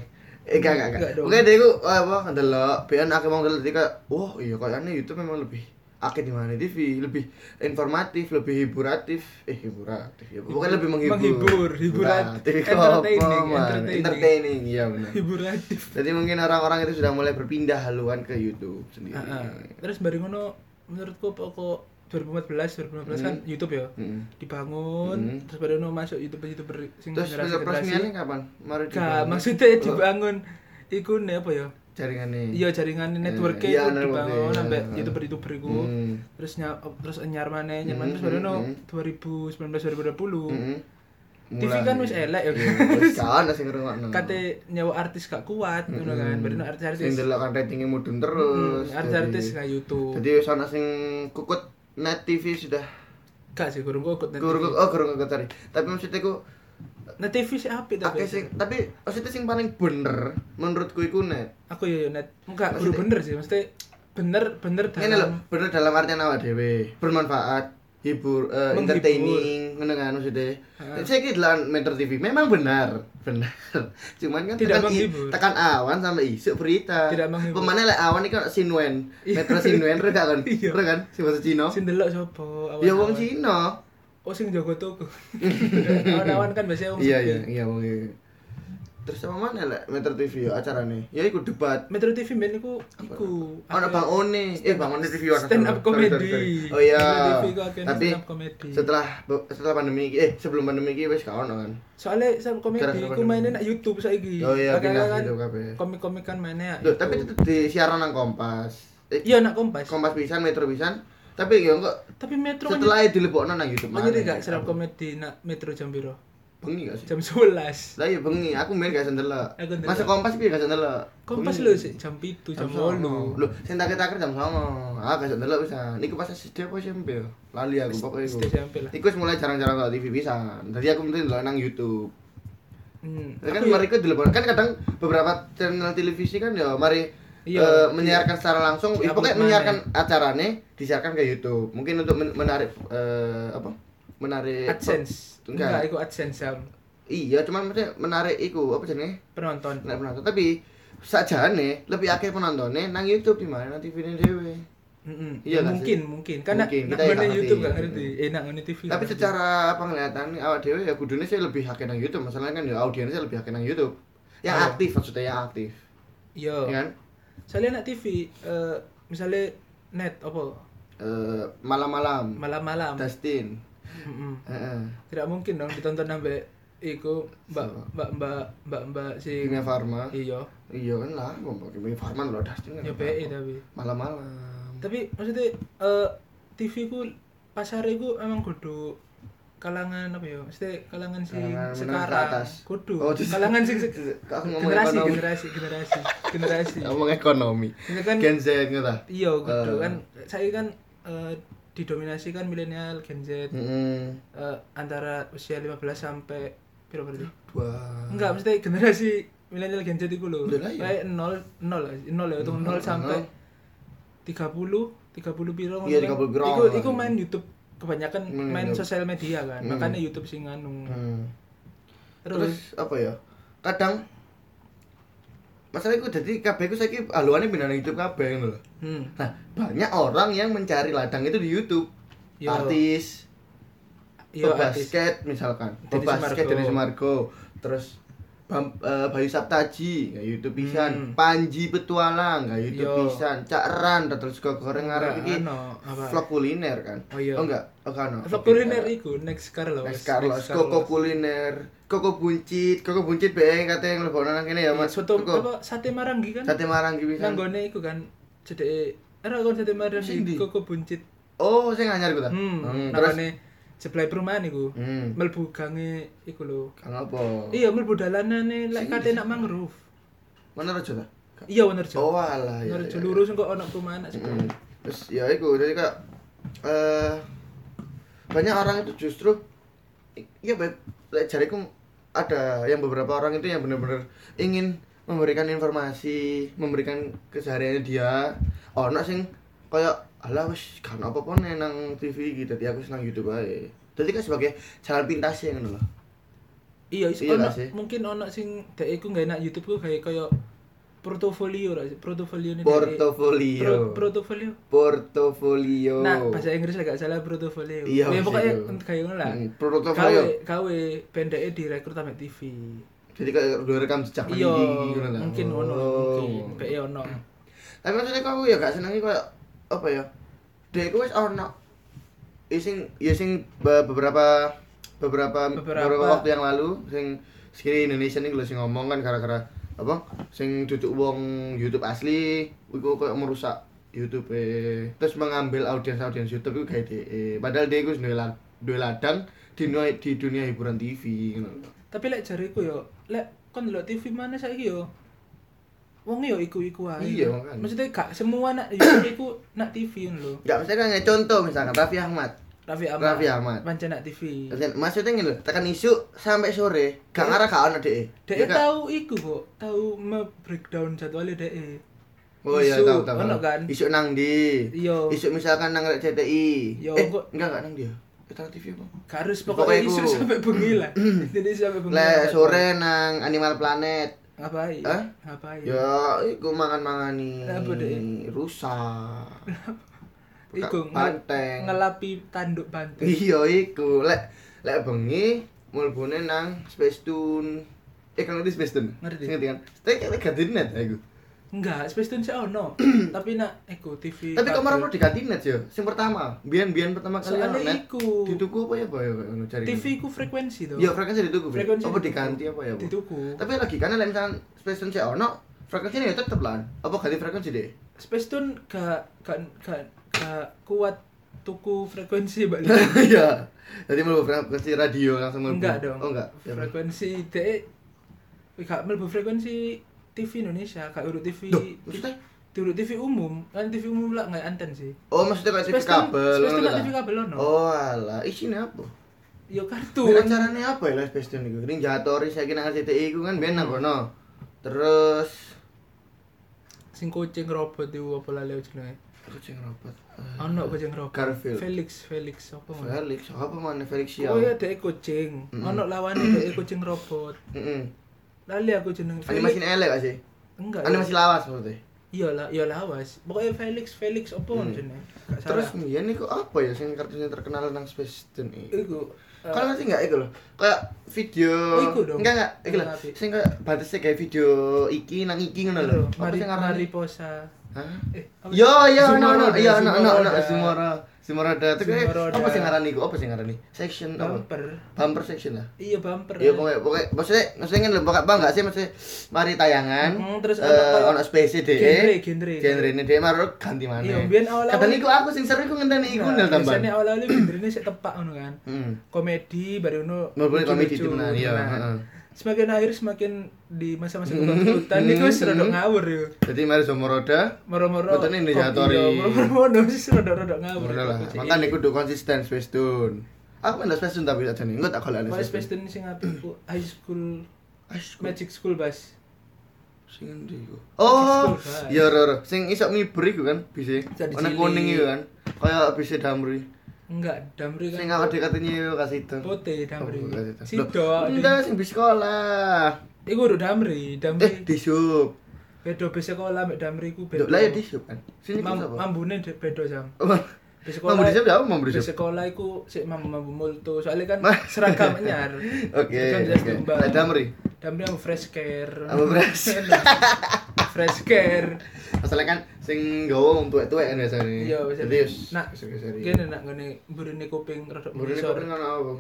[SPEAKER 3] Eh, gak, gak,
[SPEAKER 2] Enggak
[SPEAKER 3] gak.
[SPEAKER 2] dong.
[SPEAKER 3] Oke, deh, aku oh, apa ngedelok, Biar aku mau ngedelok tiga. Wah, iya, kayaknya YouTube memang lebih akeh di mana TV lebih informatif, lebih hiburatif, eh hiburatif ya, bukan lebih menghibur, Nah,
[SPEAKER 2] Menghibur, hiburan.
[SPEAKER 3] hiburatif,
[SPEAKER 2] Entertaining,
[SPEAKER 3] entertaining,
[SPEAKER 2] entertaining.
[SPEAKER 3] entertaining, entertaining, iya benar.
[SPEAKER 2] Hiburatif.
[SPEAKER 3] Jadi mungkin orang-orang itu sudah mulai berpindah haluan ke YouTube sendiri.
[SPEAKER 2] Heeh.
[SPEAKER 3] iya.
[SPEAKER 2] Terus bareng ngono menurutku pokok 2014 2015 kan YouTube ya.
[SPEAKER 3] Mm.
[SPEAKER 2] Dibangun terus bareng ngono masuk YouTuber-YouTuber sing
[SPEAKER 3] Terus peresmiannya kapan? Mari
[SPEAKER 2] Gak,
[SPEAKER 3] dibangun. Oh.
[SPEAKER 2] maksudnya dibangun iku ne apa ya?
[SPEAKER 3] jaringannya.
[SPEAKER 2] Iya jaringan network
[SPEAKER 3] iya,
[SPEAKER 2] itu
[SPEAKER 3] network-nya,
[SPEAKER 2] dibangun
[SPEAKER 3] iya.
[SPEAKER 2] sampai YouTuber-YouTuber iku.
[SPEAKER 3] Hmm.
[SPEAKER 2] Terus nya terus nyar maneh, nyar maneh terus
[SPEAKER 3] Hmm,
[SPEAKER 2] bareng ngono 2019
[SPEAKER 3] hmm,
[SPEAKER 2] 2020.
[SPEAKER 3] Mm-mm.
[SPEAKER 2] TV kan wis elek ya.
[SPEAKER 3] Iya, Wis kan sing ngrungokno.
[SPEAKER 2] Kate nyawa artis gak kuat ngono kan. Bareng ngono
[SPEAKER 3] sing
[SPEAKER 2] artis-artis.
[SPEAKER 3] delok kan ratingnya mudun
[SPEAKER 2] Hmm,
[SPEAKER 3] terus.
[SPEAKER 2] Artis-artis
[SPEAKER 3] Jadi-
[SPEAKER 2] nang YouTube.
[SPEAKER 3] Jadi wis ana sing kukut net TV sudah
[SPEAKER 2] Gak sih kurung kok net
[SPEAKER 3] kurung
[SPEAKER 2] TV.
[SPEAKER 3] oh kurung kukut tadi. Tapi maksudnya ku
[SPEAKER 2] Net TV sih apik tapi.
[SPEAKER 3] akeh sing tapi maksudnya sing paling bener menurutku iku net.
[SPEAKER 2] aku yo yo net enggak guru bener sih mesti bener bener
[SPEAKER 3] Ngene lho,
[SPEAKER 2] dalam
[SPEAKER 3] bener dalam artian awak dhewe, bermanfaat, hibur,
[SPEAKER 2] Menghibur.
[SPEAKER 3] eh,
[SPEAKER 2] Ah.
[SPEAKER 3] entertaining, ngono kan maksudnya. Saya kira dalam meter TV memang benar, benar. Cuman kan
[SPEAKER 2] Tidak
[SPEAKER 3] tekan, i-
[SPEAKER 2] menghibur.
[SPEAKER 3] tekan awan sampai isu berita.
[SPEAKER 2] Tidak menghibur.
[SPEAKER 3] Pemana lek awan iki ono sinwen, metro sinwen re gak kan?
[SPEAKER 2] Iya.
[SPEAKER 3] Re kan? Sing bahasa Cina.
[SPEAKER 2] sing delok sapa
[SPEAKER 3] Ya
[SPEAKER 2] Awan-awan.
[SPEAKER 3] wong Cina.
[SPEAKER 2] oh sing jago toko awan-awan kan biasanya wong
[SPEAKER 3] Iya
[SPEAKER 2] sepi.
[SPEAKER 3] iya iya wong iya. Terus sama mana lek Metro TV yo acarane? Ya iku debat.
[SPEAKER 2] Metro TV ben iku iku
[SPEAKER 3] Oh, Ono
[SPEAKER 2] apa-
[SPEAKER 3] Bang One, eh Bang One TV warna
[SPEAKER 2] stand up
[SPEAKER 3] seru. Sorry,
[SPEAKER 2] comedy.
[SPEAKER 3] sorry, sorry. Oh iya.
[SPEAKER 2] Metro TV ku akhirnya
[SPEAKER 3] Tapi
[SPEAKER 2] stand up comedy.
[SPEAKER 3] setelah setelah pandemi iki- eh sebelum pandemi iki wis gak ono kan.
[SPEAKER 2] soalnya sama komedi
[SPEAKER 3] Gara-gara
[SPEAKER 2] aku
[SPEAKER 3] pandemi.
[SPEAKER 2] mainnya nak YouTube saiki
[SPEAKER 3] Oh iya,
[SPEAKER 2] Kadang-kadang
[SPEAKER 3] pindah
[SPEAKER 2] kan
[SPEAKER 3] YouTube kabeh.
[SPEAKER 2] komik-komik kan mainnya
[SPEAKER 3] Loh, tapi tetep di siaran nang Kompas. Eh,
[SPEAKER 2] iya nak kompas
[SPEAKER 3] Kompas pisan, Metro pisan. Tapi yo kok
[SPEAKER 2] tapi Metro kan
[SPEAKER 3] setelah dilebokno nang YouTube
[SPEAKER 2] jadi
[SPEAKER 3] maneh.
[SPEAKER 2] gak serap komedi nak Metro jam piro
[SPEAKER 3] bengi gak sih?
[SPEAKER 2] jam 11
[SPEAKER 3] Lah iya bengi, aku main gak sendelok.
[SPEAKER 2] Aku ndelok.
[SPEAKER 3] Masuk Kompas piye gak sendelok?
[SPEAKER 2] kompas
[SPEAKER 3] Bengi.
[SPEAKER 2] lho sih jam 7 jam 8
[SPEAKER 3] Lho, sing tak ketakir jam 9. Ah, gak sendelok pisan. Niku pas SD apa SMP? ya? Lali aku pokoke iku.
[SPEAKER 2] SD SMP lah.
[SPEAKER 3] Iku wis mulai jarang-jarang nonton TV pisan. Dadi aku mesti ndelok nang YouTube.
[SPEAKER 2] Hmm.
[SPEAKER 3] Ya kan
[SPEAKER 2] Aku ya-
[SPEAKER 3] mari ku dilebokno. Kan kadang beberapa channel televisi kan ya mari
[SPEAKER 2] Iya.
[SPEAKER 3] eh, menyiarkan secara langsung,
[SPEAKER 2] Di-upload
[SPEAKER 3] pokoknya
[SPEAKER 2] mana?
[SPEAKER 3] menyiarkan acarane disiarkan ke YouTube. Mungkin untuk men- menarik eh, apa? Menarik
[SPEAKER 2] AdSense. Enggak,
[SPEAKER 3] Enggak.
[SPEAKER 2] iku AdSense Sam.
[SPEAKER 3] Iya, cuman maksudnya menarik iku apa jenenge?
[SPEAKER 2] Penonton.
[SPEAKER 3] Nek penonton tapi sajane lebih akeh penontonnya nang YouTube di mana nang TV-ne dhewe.
[SPEAKER 2] Mm-mm. Ya,
[SPEAKER 3] Iya nggak
[SPEAKER 2] mungkin, mungkin. Karena
[SPEAKER 3] Mungkin,
[SPEAKER 2] nak
[SPEAKER 3] kita ya
[SPEAKER 2] ngene
[SPEAKER 3] nggak
[SPEAKER 2] YouTube
[SPEAKER 3] ngerti.
[SPEAKER 2] gak ngerti. Eh, nak ngene TV.
[SPEAKER 3] Tapi
[SPEAKER 2] nggak ngerti.
[SPEAKER 3] secara penglihatan awak dhewe ya kudune sih lebih akeh nang YouTube. Masalahnya kan ya audiensnya lebih akeh nang YouTube. Yang
[SPEAKER 2] Ayo.
[SPEAKER 3] aktif maksudnya yang aktif.
[SPEAKER 2] Iya.
[SPEAKER 3] Ya kan?
[SPEAKER 2] Soalnya nak TV eh misalnya net apa
[SPEAKER 3] Eh, malam-malam
[SPEAKER 2] malam-malam.
[SPEAKER 3] Dustin.
[SPEAKER 2] Mm-mm.
[SPEAKER 3] Heeh.
[SPEAKER 2] Tidak mungkin dong ditonton sampai iku Mbak Mbak Mbak Mbak Mbak si
[SPEAKER 3] Kimia Farma.
[SPEAKER 2] Iya.
[SPEAKER 3] Iya kan lah, mau pakai Kimia Farma lho Dustin kan.
[SPEAKER 2] Yo Ya, BE tapi.
[SPEAKER 3] Malam-malam.
[SPEAKER 2] tapi maksudnya eh TV ku pasar ku emang kudu kalangan apa ya maksudnya kalangan sing
[SPEAKER 3] Kalangan menengah ke
[SPEAKER 2] sekarang
[SPEAKER 3] atas.
[SPEAKER 2] kudu
[SPEAKER 3] Oh, di-
[SPEAKER 2] kalangan sing se-
[SPEAKER 3] Kok aku ngomong
[SPEAKER 2] generasi Kan-
[SPEAKER 3] ekonomi?
[SPEAKER 2] generasi generasi generasi
[SPEAKER 3] Ngomong ekonomi.
[SPEAKER 2] Misalkan-
[SPEAKER 3] Gen Z gitu ta.
[SPEAKER 2] iya kudu
[SPEAKER 3] Eh.
[SPEAKER 2] kan saya kan eh, didominasi kan milenial Gen Z
[SPEAKER 3] Hmm. Heeh.
[SPEAKER 2] eh, antara usia 15 sampai berapa berarti?
[SPEAKER 3] Dua.
[SPEAKER 2] Enggak, maksudnya generasi milenial Gen Z itu loh.
[SPEAKER 3] Udah lah, ya.
[SPEAKER 2] Kayak 0 0 0 ya, hitung 0
[SPEAKER 3] Nol,
[SPEAKER 2] sampai
[SPEAKER 3] nol.
[SPEAKER 2] 30 30 piro
[SPEAKER 3] Iya,
[SPEAKER 2] ngono kan.
[SPEAKER 3] 30 piro.
[SPEAKER 2] Iku iku main YouTube kebanyakan
[SPEAKER 3] Main
[SPEAKER 2] main
[SPEAKER 3] YouTube.
[SPEAKER 2] sosial media kan.
[SPEAKER 3] Hmm.
[SPEAKER 2] Makanya YouTube sing anu.
[SPEAKER 3] Hmm.
[SPEAKER 2] Terus,
[SPEAKER 3] Terus apa ya? Kadang masalah iku dadi kabeh iku saiki haluane binaan YouTube kabeh ngono lho.
[SPEAKER 2] hmm,
[SPEAKER 3] Nah, banyak orang yang mencari ladang itu di YouTube.
[SPEAKER 2] Yo.
[SPEAKER 3] Artis,
[SPEAKER 2] iya artis.
[SPEAKER 3] basket misalkan,
[SPEAKER 2] Denny
[SPEAKER 3] basket
[SPEAKER 2] Sumargo.
[SPEAKER 3] Denny Sumargo, terus Bam, eh, Bayu Saptaji, nggak YouTube pisan,
[SPEAKER 2] Hmm.
[SPEAKER 3] Panji Petualang, nggak YouTube
[SPEAKER 2] Yo.
[SPEAKER 3] pisan, Cak Ran, terus kok goreng
[SPEAKER 2] Nggak,
[SPEAKER 3] arep iki
[SPEAKER 2] Nah, ano, apa?
[SPEAKER 3] vlog kuliner kan.
[SPEAKER 2] Oh, iya.
[SPEAKER 3] enggak, oh kan. no.
[SPEAKER 2] Vlog kuliner iku next Carlos.
[SPEAKER 3] Next Carlos, Koko kuliner, Koko buncit, Koko buncit bae kate yang lebon nang kene ya Mas.
[SPEAKER 2] Iya, Soto
[SPEAKER 3] Koko.
[SPEAKER 2] apa sate maranggi kan?
[SPEAKER 3] Sate maranggi pisan.
[SPEAKER 2] Nanggone iku kan cedeke Era kon sate
[SPEAKER 3] Sing
[SPEAKER 2] maranggi
[SPEAKER 3] di?
[SPEAKER 2] koko buncit.
[SPEAKER 3] Oh, sing anyar iku ta.
[SPEAKER 2] Hmm,
[SPEAKER 3] terus
[SPEAKER 2] nanggone sebelah perumahan iku.
[SPEAKER 3] Hmm. Oh.
[SPEAKER 2] Melbu gange iku lho.
[SPEAKER 3] Kang apa?
[SPEAKER 2] Iya, melbu dalanane lek
[SPEAKER 3] Sing
[SPEAKER 2] kate nak mangrove.
[SPEAKER 3] Mana rojo ta?
[SPEAKER 2] Iya, Wonorejo.
[SPEAKER 3] Oh, alah ya.
[SPEAKER 2] Wonorejo
[SPEAKER 3] ya, ya.
[SPEAKER 2] lurus kok ana perumahan nak sebelah.
[SPEAKER 3] Mm. Terus ya iku jadi kayak eh banyak orang itu justru i- ya baik lek jariku ada yang beberapa orang itu yang benar-benar ingin memberikan informasi, memberikan kesehariannya dia. Ono sing kayak alah wis kan apa-apa nih nang TV gitu, jadi aku senang YouTube aja. Jadi kan sebagai jalan pintas ya ngono loh.
[SPEAKER 2] Iya, is-
[SPEAKER 3] Iya
[SPEAKER 2] ono
[SPEAKER 3] gak sih?
[SPEAKER 2] mungkin ono sing dek iku gak enak YouTube ku kayak koyo portofolio lah, portofolio ini.
[SPEAKER 3] Portofolio.
[SPEAKER 2] portofolio.
[SPEAKER 3] Portofolio.
[SPEAKER 2] Nah, bahasa Inggris lah gak salah portofolio.
[SPEAKER 3] Iya,
[SPEAKER 2] ya
[SPEAKER 3] bahasa
[SPEAKER 2] pokoknya
[SPEAKER 3] Inggris.
[SPEAKER 2] kayak ngono lah.
[SPEAKER 3] Mm,
[SPEAKER 2] Kawe,
[SPEAKER 3] Portofolio.
[SPEAKER 2] kawe pendeknya direkrut sama TV.
[SPEAKER 3] Jadi kayak udah rekam jejak
[SPEAKER 2] Iya,
[SPEAKER 3] pendidik gitu lah. Oh.
[SPEAKER 2] mungkin ono, mungkin. Kayak ya ono.
[SPEAKER 3] Tapi maksudnya kok aku ya gak senengi kayak apa ya? Dek iku wis ono ya sing ya sing be- beberapa beberapa
[SPEAKER 2] Beberapa-
[SPEAKER 3] beberapa waktu yang lalu sing sekiri Indonesia nih sing ngomong kan gara-gara apa sing duduk wong YouTube asli iku kayak merusak YouTube eh. terus mengambil audiens audiens YouTube itu kayak de E. padahal dia itu duwe la- duwe ladang di dunia, di dunia hiburan TV gitu loh.
[SPEAKER 2] Tapi lek jariku yo, lek kon delok TV mana saiki yo. Wong yo iku-iku ae.
[SPEAKER 3] Iya, makanya.
[SPEAKER 2] Maksudnya gak semua nak YouTube iku nak TV ngono lho.
[SPEAKER 3] Gak misalkan kayak contoh misalkan Raffi Ahmad
[SPEAKER 2] Raffi Ahmad.
[SPEAKER 3] Raffi Ahmad.
[SPEAKER 2] Pancen nak TV.
[SPEAKER 3] Maksudnya- Maksudnya gini loh, tekan isu sampai sore, gak ngarah gak ono deh.
[SPEAKER 2] Iya. Dek tahu iku kok, tahu me-breakdown jadwalnya dek. e.
[SPEAKER 3] Oh iya
[SPEAKER 2] isu,
[SPEAKER 3] tahu tahu.
[SPEAKER 2] ono
[SPEAKER 3] tahu.
[SPEAKER 2] kan?
[SPEAKER 3] Isu nang di.
[SPEAKER 2] Iya.
[SPEAKER 3] Isu misalkan nang rek CTI.
[SPEAKER 2] Yo,
[SPEAKER 3] eh,
[SPEAKER 2] kok-
[SPEAKER 3] enggak enggak nang dia. Kita TV apa?
[SPEAKER 2] Gak harus
[SPEAKER 3] Pokoknya
[SPEAKER 2] pokoknya
[SPEAKER 3] iku.
[SPEAKER 2] isu sampai bengi lah. Jadi sampai bengi.
[SPEAKER 3] Le
[SPEAKER 2] lah.
[SPEAKER 3] sore nang Animal Planet.
[SPEAKER 2] Ngapain?
[SPEAKER 3] Hah?
[SPEAKER 2] Ngapain?
[SPEAKER 3] Ya, iku mangan-mangani.
[SPEAKER 2] Iya. Lah, apa deh?
[SPEAKER 3] Rusak.
[SPEAKER 2] Iku ngel-
[SPEAKER 3] banteng.
[SPEAKER 2] ngelapi tanduk banteng.
[SPEAKER 3] Iya iku. Lek lek bengi mulbune nang Space Tune. Eh kan ngerti Space Tune?
[SPEAKER 2] Ngerti.
[SPEAKER 3] Ngerti kan? Tapi kayak gak di net ya, aku.
[SPEAKER 2] Enggak, Space Tune sih ono. Tapi nak iku TV.
[SPEAKER 3] Tapi
[SPEAKER 2] kabel.
[SPEAKER 3] kamar aku diganti net yo. Sing pertama, biyen-biyen pertama kali
[SPEAKER 2] Soalnya
[SPEAKER 3] ono net.
[SPEAKER 2] iku.
[SPEAKER 3] Dituku apa ya, Pak? Ya, Pak? Ono cari.
[SPEAKER 2] TV ku frekuensi tuh.
[SPEAKER 3] Iya, frekuensi dituku. Pak.
[SPEAKER 2] Frekuensi
[SPEAKER 3] apa
[SPEAKER 2] dituku.
[SPEAKER 3] diganti apa ya, Bu?
[SPEAKER 2] Dituku.
[SPEAKER 3] Tapi lagi kan lain misalkan Space Tune saya ono, frekuensinya ya tetep lah. Apa ganti frekuensi deh?
[SPEAKER 2] Space Tune gak gak gak gak kuat tuku frekuensi balik.
[SPEAKER 3] Iya. Jadi mlebu frekuensi radio langsung mlebu.
[SPEAKER 2] enggak dong.
[SPEAKER 3] Oh, enggak. Ya, Pak.
[SPEAKER 2] frekuensi de gak mlebu frekuensi TV Indonesia, gak urut TV.
[SPEAKER 3] Duh, maksudnya?
[SPEAKER 2] Urut TV umum, kan TV umum lah gak anten sih.
[SPEAKER 3] Oh, maksudnya kayak TV
[SPEAKER 2] Space Tune-
[SPEAKER 3] kabel.
[SPEAKER 2] Space Tune
[SPEAKER 3] ngono
[SPEAKER 2] gak
[SPEAKER 3] ta?
[SPEAKER 2] TV kabel ono. Iya,
[SPEAKER 3] Oh, alah, isinya apa?
[SPEAKER 2] Yo kartu.
[SPEAKER 3] Tuh, acaranya apa ya lah Space Tune itu? Ring Jatori saya kira RCTI itu kan biyen nang
[SPEAKER 2] Hmm.
[SPEAKER 3] kono. Terus
[SPEAKER 2] Sing kucing robot iku apa lali jenenge?
[SPEAKER 3] aku sing robot. Ah,
[SPEAKER 2] Ono kucing robot.
[SPEAKER 3] Garfield.
[SPEAKER 2] Felix, Felix apa ngono?
[SPEAKER 3] Felix, apa mana Felix ya?
[SPEAKER 2] Oh ya dek kucing. Ono lawane dek kucing robot.
[SPEAKER 3] Heeh.
[SPEAKER 2] Lali aku jeneng
[SPEAKER 3] Animasi elek gak sih?
[SPEAKER 2] Enggak.
[SPEAKER 3] Animasi lawas maksudnya.
[SPEAKER 2] Iya lah, iya lawas. Pokoknya Felix, Felix apa hmm. jenenge? Gak
[SPEAKER 3] Mm. Terus
[SPEAKER 2] salah.
[SPEAKER 3] kemudian niku apa ya sing kartunya terkenal tentang Space Tune iki?
[SPEAKER 2] iku eh,
[SPEAKER 3] Kalau ngerti enggak iku loh. Kayak video.
[SPEAKER 2] Oh, iku dong.
[SPEAKER 3] Enggak enggak, iku lho.
[SPEAKER 2] Enggak, tapi.
[SPEAKER 3] Sing kayak batasnya kayak video iki nang iki ngono lho.
[SPEAKER 2] Mari
[SPEAKER 3] Apa sing
[SPEAKER 2] Mari
[SPEAKER 3] ngarani?
[SPEAKER 2] Posa.
[SPEAKER 3] Hah?
[SPEAKER 2] Eh, apa?
[SPEAKER 3] Yo, yo, no,
[SPEAKER 2] Zumoroda,
[SPEAKER 3] no, yo, no, no, no,
[SPEAKER 2] Zumoroda.
[SPEAKER 3] Zumora, Zumoroda, itu kayak
[SPEAKER 2] Zumoroda.
[SPEAKER 3] apa sih ngarani? iku? Apa sih ngarani? Section apa?
[SPEAKER 2] Bumper.
[SPEAKER 3] Bumper section lah.
[SPEAKER 2] Iya bumper.
[SPEAKER 3] Iya, pokoknya, pokoknya, maksudnya, maksudnya kan lebih bang nggak sih, maksudnya, mari tayangan,
[SPEAKER 2] Mm, terus
[SPEAKER 3] eh,
[SPEAKER 2] ono kayak
[SPEAKER 3] ono space deh,
[SPEAKER 2] genre, genre.
[SPEAKER 3] genre ini deh, maru ganti mana?
[SPEAKER 2] Iya, biyen awal-awal- Nah,
[SPEAKER 3] Kadang iku aku sing seru iku ngenteni iku nel tambah.
[SPEAKER 2] Biasanya awal-awalnya benernya sih tepak ngono kan.
[SPEAKER 3] Hmm.
[SPEAKER 2] Komedi baru ngono.
[SPEAKER 3] Mulai komedi
[SPEAKER 2] lucu-lucu,
[SPEAKER 3] temenan, iya,
[SPEAKER 2] temenan.
[SPEAKER 3] heeh.
[SPEAKER 2] Semakin akhir semakin di masa-masa kebangkitan niku wis rada ngawur yo.
[SPEAKER 3] Jadi mari Zumoroda,
[SPEAKER 2] Moro-moro.
[SPEAKER 3] Betul, ini
[SPEAKER 2] kopi,
[SPEAKER 3] diatori.
[SPEAKER 2] yo. Moro-moro wis rada-rada ngawur.
[SPEAKER 3] udah lah,
[SPEAKER 2] Kocek.
[SPEAKER 3] makanya kudu konsisten space tune. Aku main space tune tapi aja nih, nggak tak kalau ada
[SPEAKER 2] Paling
[SPEAKER 3] space
[SPEAKER 2] Space Tune
[SPEAKER 3] tune.
[SPEAKER 2] sing apik ku High School
[SPEAKER 3] Ah, sku-
[SPEAKER 2] Magic School Bas.
[SPEAKER 3] Sing endi iku? Oh,
[SPEAKER 2] Magic School,
[SPEAKER 3] iya ro ro. Sing isok miber iku kan bise.
[SPEAKER 2] Jadi
[SPEAKER 3] Warna
[SPEAKER 2] cilik.
[SPEAKER 3] kuning iku kan. Kayak bise damri.
[SPEAKER 2] Enggak, Damri Iya kan.
[SPEAKER 3] Sing awak dhewe katanya iku kasih itu.
[SPEAKER 2] Putih Damri.
[SPEAKER 3] Oh, kasih itu.
[SPEAKER 2] Sidok.
[SPEAKER 3] Loh, Enggak, sing di sekolah.
[SPEAKER 2] Iku udah Damri, Damri.
[SPEAKER 3] Eh, di sub.
[SPEAKER 2] Bedo bis sekolah mek Damri ku
[SPEAKER 3] Loh,
[SPEAKER 2] bedo.
[SPEAKER 3] Lah ya di sub kan. Sini
[SPEAKER 2] Mam-
[SPEAKER 3] kita apa? Oh,
[SPEAKER 2] Mambune de- bedo jam. Bis
[SPEAKER 3] Mampu di sub ya, apa mampu di
[SPEAKER 2] bis
[SPEAKER 3] sub?
[SPEAKER 2] sekolah iku sik mambu mambu multo. Soalnya kan
[SPEAKER 3] Mah.
[SPEAKER 2] seragam nyar.
[SPEAKER 3] Oke.
[SPEAKER 2] Seragam jas
[SPEAKER 3] oke.
[SPEAKER 2] tumbal.
[SPEAKER 3] Lah damri.
[SPEAKER 2] Damri ambu fresh care.
[SPEAKER 3] Ambu fresh.
[SPEAKER 2] fresh care.
[SPEAKER 3] Masalah kan sing gawa wong tuwek-tuwek kan biasanya.
[SPEAKER 2] Iya, bisa.
[SPEAKER 3] Jadi wis.
[SPEAKER 2] Nak,
[SPEAKER 3] serius.
[SPEAKER 2] Kene nak ngene burine kuping rada
[SPEAKER 3] Murni
[SPEAKER 2] melisor.
[SPEAKER 3] kok kan apa?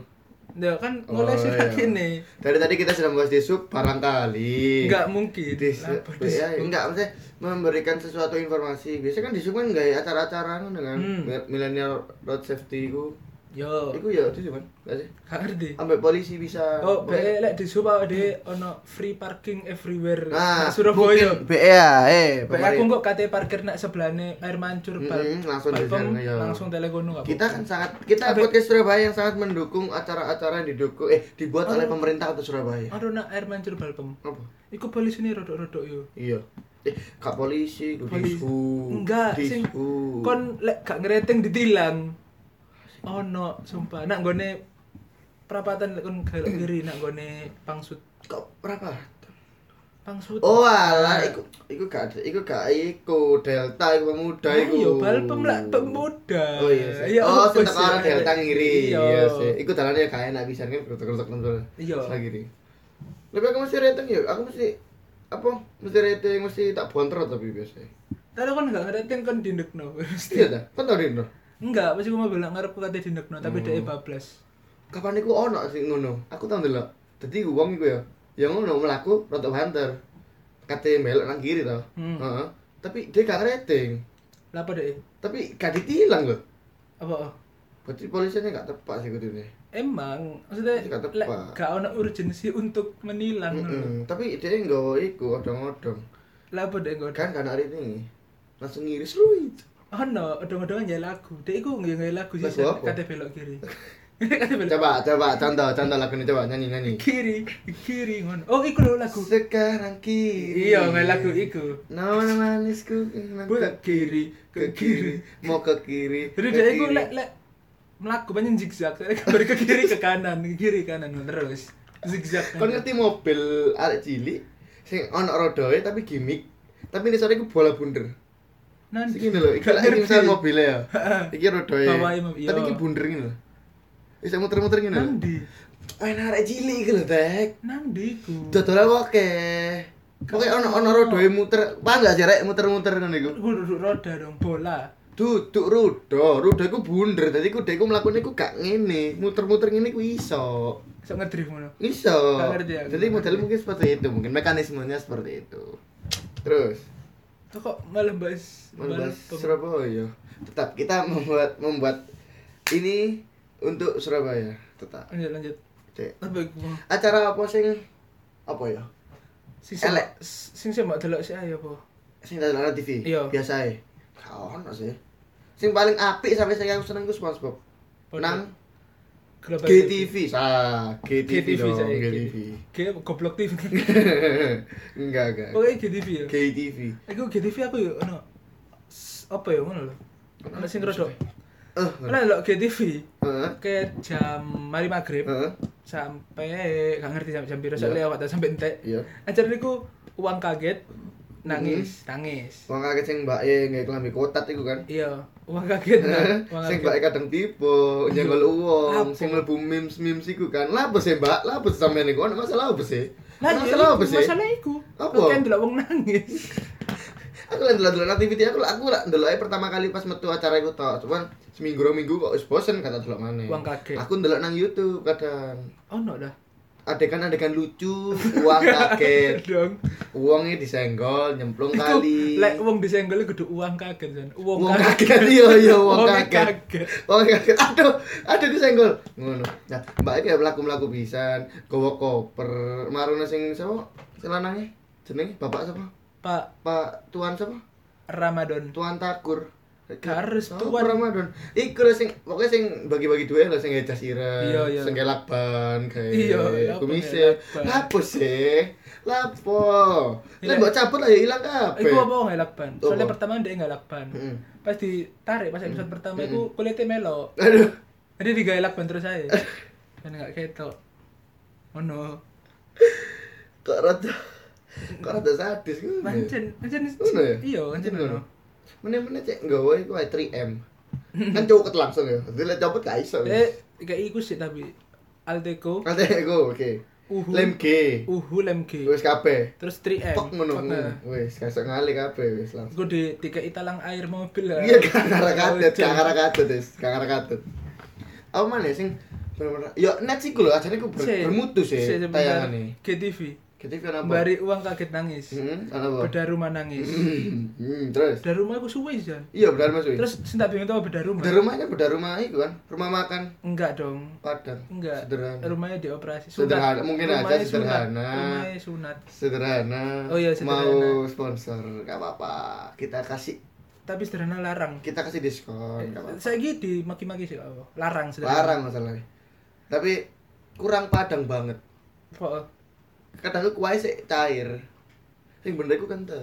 [SPEAKER 2] Ya kan
[SPEAKER 3] Oh,
[SPEAKER 2] mulai sih
[SPEAKER 3] iya.
[SPEAKER 2] kene.
[SPEAKER 3] Dari tadi kita sudah membahas di sub barangkali.
[SPEAKER 2] Enggak mungkin.
[SPEAKER 3] di
[SPEAKER 2] Apa
[SPEAKER 3] di-
[SPEAKER 2] dis-
[SPEAKER 3] ya, enggak maksudnya memberikan sesuatu informasi biasanya kan di sini kan nggak ya acara-acara kan dengan
[SPEAKER 2] Hmm. Oh.
[SPEAKER 3] milenial road safety ku
[SPEAKER 2] Yo,
[SPEAKER 3] itu ya itu cuman nggak sih
[SPEAKER 2] gak ngerti.
[SPEAKER 3] sampai polisi bisa
[SPEAKER 2] Oh, BE
[SPEAKER 3] Pokoknya-
[SPEAKER 2] lek di Supa de ono free parking everywhere.
[SPEAKER 3] nah
[SPEAKER 2] Nah, Surabaya.
[SPEAKER 3] Ah, mungkin BE ya eh
[SPEAKER 2] BE aku
[SPEAKER 3] pemerintah.
[SPEAKER 2] kok kate parkir nak sebelahne air mancur
[SPEAKER 3] Mm-mm,
[SPEAKER 2] bal.
[SPEAKER 3] langsung di
[SPEAKER 2] balpem,
[SPEAKER 3] sana, yo.
[SPEAKER 2] Langsung telekono gak
[SPEAKER 3] kita kan sangat kita
[SPEAKER 2] Sampai-
[SPEAKER 3] podcast Surabaya yang sangat mendukung acara-acara yang didukung eh dibuat
[SPEAKER 2] Oh.
[SPEAKER 3] oleh pemerintah atau Surabaya
[SPEAKER 2] Aduh nak air mancur balpem.
[SPEAKER 3] apa
[SPEAKER 2] Iku polisi ini rodok-rodok yo.
[SPEAKER 3] iya eh kak polisi ku
[SPEAKER 2] Polisi.
[SPEAKER 3] disu
[SPEAKER 2] Enggak, sing
[SPEAKER 3] disu
[SPEAKER 2] kon lek gak ngereting ditilang. Ono sumpah nak gone perapatan lek kon gelok kiri nak gone pangsut.
[SPEAKER 3] kok berapa
[SPEAKER 2] Pangsut.
[SPEAKER 3] Oh alah, iku iku gak ada- iku gak iku delta iku pemuda iya, iku.
[SPEAKER 2] Ayo bal pemlak pemuda.
[SPEAKER 3] Oh iya sih.
[SPEAKER 2] Ya,
[SPEAKER 3] oh,
[SPEAKER 2] apa
[SPEAKER 3] sing
[SPEAKER 2] sih?
[SPEAKER 3] teko arah delta ngiri.
[SPEAKER 2] Iya.
[SPEAKER 3] Iya sih. Iku dalane ya kae enak pisan kan kerutuk-kerutuk nonton.
[SPEAKER 2] Iya.
[SPEAKER 3] Lagi nih. Lebih aku mesti rating ya, aku mesti apa? Mesti rating mesti tak bontrot tapi biasanya.
[SPEAKER 2] Tadi kan enggak ngereting kan dindekno. Mesti.
[SPEAKER 3] Iya dah. Kan tau dino.
[SPEAKER 2] Enggak, pasti gue mau bilang ngarep ku kate dindekno tapi dhek e
[SPEAKER 3] Hmm.
[SPEAKER 2] bablas.
[SPEAKER 3] Kapan iku ono sih ngono? Aku tau ndelok. Dadi wong iku ya. Ya ngono mlaku rotok banter. Kate melok nang kiri tau.
[SPEAKER 2] Hmm.
[SPEAKER 3] Heeh. Tapi dia gak rating.
[SPEAKER 2] Lah apa dhek? e?
[SPEAKER 3] Tapi gak ditilang loh.
[SPEAKER 2] Apa? oh?
[SPEAKER 3] Berarti polisinya nggak tepat sih kudune.
[SPEAKER 2] Emang maksudnya
[SPEAKER 3] Nggak tepat.
[SPEAKER 2] lek gak ono urgensi untuk menilang. lho.
[SPEAKER 3] Mm-mm. Tapi dia nggak iku odong-odong.
[SPEAKER 2] Lah apa dhek e nggon?
[SPEAKER 3] Kan karena hari ini langsung ngiris lu itu.
[SPEAKER 2] Ono, odong-odongan ya lagu. Dhek iku nggih nggih lagu sih
[SPEAKER 3] Lagu apa?
[SPEAKER 2] kate belok kiri. kate belok
[SPEAKER 3] Coba, coba, contoh, contoh lagu ini coba nyanyi nyanyi.
[SPEAKER 2] kiri, kiri ngono. Oh, iku lho lagu.
[SPEAKER 3] Sekarang kiri.
[SPEAKER 2] Iya, nggih lagu iku.
[SPEAKER 3] Nama manisku kenang
[SPEAKER 2] Ke
[SPEAKER 3] ke
[SPEAKER 2] kiri,
[SPEAKER 3] ke kiri, mau ke kiri.
[SPEAKER 2] Jadi
[SPEAKER 3] ke
[SPEAKER 2] dia itu
[SPEAKER 3] kiri.
[SPEAKER 2] lek lek melaku banyak zigzag, Saya kembali ke kiri ke kanan, ke kiri kanan terus zigzag.
[SPEAKER 3] Kon ngerti mobil arek cilik sing ono rodoe tapi gimmick. Tapi ini sore iku bola bunder.
[SPEAKER 2] Nanti
[SPEAKER 3] Iki lho, iki
[SPEAKER 2] Gak
[SPEAKER 3] lek iki
[SPEAKER 2] ngerti.
[SPEAKER 3] misal mobilnya ya. Iki rodoe.
[SPEAKER 2] Bawahnya, Mam, iya. Kan-
[SPEAKER 3] Tapi iki bunder ngene lho. Bisa muter-muter ngene lho.
[SPEAKER 2] Nandi,
[SPEAKER 3] Main arek cilik iki lho, Dek.
[SPEAKER 2] Nandi ku.
[SPEAKER 3] Dodol oke. Pokoke ono ono rodoe muter, paham gak sih rek muter-muter ngono iku.
[SPEAKER 2] Ku duduk roda dong, bola.
[SPEAKER 3] Duduk rudo, rudo iku bunder. Dadi ku dekku mlakune iku gak ngene, muter-muter ngene ku iso.
[SPEAKER 2] Sok ngedrift ngono.
[SPEAKER 3] Iso.
[SPEAKER 2] Gak ngerti aku.
[SPEAKER 3] Jadi modelnya mungkin seperti itu, mungkin mekanismenya seperti itu. Terus,
[SPEAKER 2] Tuh kok malah bahas
[SPEAKER 3] membahas
[SPEAKER 2] pem-
[SPEAKER 3] Surabaya. Tetap kita membuat membuat ini untuk Surabaya, tetap.
[SPEAKER 2] Lanjut lanjut.
[SPEAKER 3] Cek.
[SPEAKER 2] Apa iku?
[SPEAKER 3] Acara apa sing apa ya?
[SPEAKER 2] Sing sing
[SPEAKER 3] Elek.
[SPEAKER 2] sing sing mbok delok sih ayo apa?
[SPEAKER 3] sing dari luar TV
[SPEAKER 2] Iya.
[SPEAKER 3] biasa ya gak ono sih sing paling apik sampai saya aku seneng ku SpongeBob
[SPEAKER 2] Apa
[SPEAKER 3] nang
[SPEAKER 2] Global
[SPEAKER 3] GTV ah GTV
[SPEAKER 2] GTV
[SPEAKER 3] dong
[SPEAKER 2] saya.
[SPEAKER 3] GTV
[SPEAKER 2] Kayak goblok TV.
[SPEAKER 3] enggak enggak
[SPEAKER 2] Pokoknya GTV ya.
[SPEAKER 3] GTV
[SPEAKER 2] Iku GTV aku yo ono s- apa ya ngono lho. Ono sing rodok.
[SPEAKER 3] eh
[SPEAKER 2] Ono lho GTV.
[SPEAKER 3] eh
[SPEAKER 2] Kayak jam mari maghrib
[SPEAKER 3] eh
[SPEAKER 2] sampai gak ngerti sampai jam piro
[SPEAKER 3] Iya.
[SPEAKER 2] soalnya awak tak sampai entek.
[SPEAKER 3] iya
[SPEAKER 2] Acara niku uang kaget nangis nangis.
[SPEAKER 3] Wong kaget sing mbak E nggak kelambi kotat itu kan
[SPEAKER 2] Iya, uang kaget nang. Uang
[SPEAKER 3] sing mbak E
[SPEAKER 2] kaget.
[SPEAKER 3] kadang tipu nyenggol
[SPEAKER 2] Apa?
[SPEAKER 3] uang sing mlebu memes memes iku kan lapo sih mbak lapo sampean iku ono masalah apa sih
[SPEAKER 2] Lah iya,
[SPEAKER 3] Ono masalah apa sih
[SPEAKER 2] Masalah iku.
[SPEAKER 3] Apa?
[SPEAKER 2] Kok kan delok wong nangis.
[SPEAKER 3] aku lagi ndelok-ndelok activity aku lah- aku lah ndelok ae pertama kali pas metu acara iku tok. Cuman seminggu rong minggu kok wis bosen kata delok maneh.
[SPEAKER 2] Wong kaget.
[SPEAKER 3] Aku ndelok nang YouTube kadang
[SPEAKER 2] Ono dah.
[SPEAKER 3] adegan-adegan lucu, uang kaget,
[SPEAKER 2] Dong.
[SPEAKER 3] uangnya disenggol, nyemplung
[SPEAKER 2] Iku
[SPEAKER 3] kali.
[SPEAKER 2] lek wong disenggol kudu uang kaget kan. Uang
[SPEAKER 3] Wong
[SPEAKER 2] kaget.
[SPEAKER 3] kaget iya iya wong
[SPEAKER 2] Wong
[SPEAKER 3] kaget.
[SPEAKER 2] kaget.
[SPEAKER 3] Wong kaget. Aduh, aduh disenggol. Ngono. Nah, mbak iki ya mlaku-mlaku pisan, gowo koper, marune sing sapa? Sing lanange? Jenenge bapak sapa?
[SPEAKER 2] Pak
[SPEAKER 3] Pak tuan sapa?
[SPEAKER 2] Ramadan.
[SPEAKER 3] Tuan Takur.
[SPEAKER 2] Gak harus
[SPEAKER 3] Oh,
[SPEAKER 2] Tuan.
[SPEAKER 3] Ramadan. Iku lho sing pokoknya sing bagi-bagi duit lho sing ngecas ireng,
[SPEAKER 2] Iya, iya.
[SPEAKER 3] sing kelak ban kae.
[SPEAKER 2] Iya, iya,
[SPEAKER 3] kumise.
[SPEAKER 2] kelak ban.
[SPEAKER 3] Lapo sih? Lapo. Lah
[SPEAKER 2] Iya.
[SPEAKER 3] mbok cabut lah ya ilang kabeh.
[SPEAKER 2] Iku apa ngelak ban? Soalnya
[SPEAKER 3] Apa?
[SPEAKER 2] pertama dia ngelak ban.
[SPEAKER 3] Mm.
[SPEAKER 2] Pas ditarik pas episode
[SPEAKER 3] Hmm.
[SPEAKER 2] pertama iku kulitnya melo.
[SPEAKER 3] Aduh.
[SPEAKER 2] Jadi digaelak ban terus saya. Dan enggak ketok. Ono.
[SPEAKER 3] Kok rada kok rada sadis ngono. ya?
[SPEAKER 2] Pancen, pancen
[SPEAKER 3] Ngono Iya. ya?
[SPEAKER 2] iya, pancen ono.
[SPEAKER 3] Meneh-meneh cek nggawa iku ae 3M. Kan cuket langsung ya. Dadi lek copot gak iso.
[SPEAKER 2] Eh, kayak iku sih tapi Alteco,
[SPEAKER 3] Nanti aku oke.
[SPEAKER 2] Uhu,
[SPEAKER 3] Ah, Lem G.
[SPEAKER 2] Uhu Lem G.
[SPEAKER 3] Wis kabeh.
[SPEAKER 2] Terus 3M.
[SPEAKER 3] Pok ngono.
[SPEAKER 2] Pokoknya.
[SPEAKER 3] Wis kasok ngalih kabeh wis langsung.
[SPEAKER 2] Gue di tiga italang air mobil lah.
[SPEAKER 3] Iya gak ngara kadet,
[SPEAKER 2] Ojo.
[SPEAKER 3] gak ngara kadet, Des. gak ngara kadet. Apa mana ya, sing bener-bener yo net sih gue acaranya gue ber, ya,
[SPEAKER 2] Sih,
[SPEAKER 3] bermutu sih
[SPEAKER 2] sih, sebentar.
[SPEAKER 3] tayangane.
[SPEAKER 2] GTV.
[SPEAKER 3] Kita e. kan apa?
[SPEAKER 2] Bari uang kaget nangis.
[SPEAKER 3] Hmm, ana apa?
[SPEAKER 2] Beda rumah nangis.
[SPEAKER 3] Hmm, terus.
[SPEAKER 2] Beda rumah aku suwe jan.
[SPEAKER 3] Iya benar Mas. Wi.
[SPEAKER 2] Terus sentak bingung tau beda rumah.
[SPEAKER 3] Beda rumahnya beda rumah itu kan, rumah makan
[SPEAKER 2] Enggak dong.
[SPEAKER 3] Padang.
[SPEAKER 2] Enggak.
[SPEAKER 3] Sederhana.
[SPEAKER 2] Rumahnya dioperasi.
[SPEAKER 3] Sederhana, mungkin aja
[SPEAKER 2] Rumahnya sunat.
[SPEAKER 3] sederhana.
[SPEAKER 2] Rumahnya sunat.
[SPEAKER 3] Sederhana.
[SPEAKER 2] Oh iya, sederhana.
[SPEAKER 3] Mau sponsor gak apa-apa. Kita kasih
[SPEAKER 2] Tapi sederhana larang.
[SPEAKER 3] kita kasih diskon gak Oh, apa-apa.
[SPEAKER 2] Saya gitu maki-maki sih apa? Larang sederhana.
[SPEAKER 3] Larang masalahnya. Tapi kurang Padang banget.
[SPEAKER 2] Po-
[SPEAKER 3] kadang aku kuahnya sih cair sing bener aku kental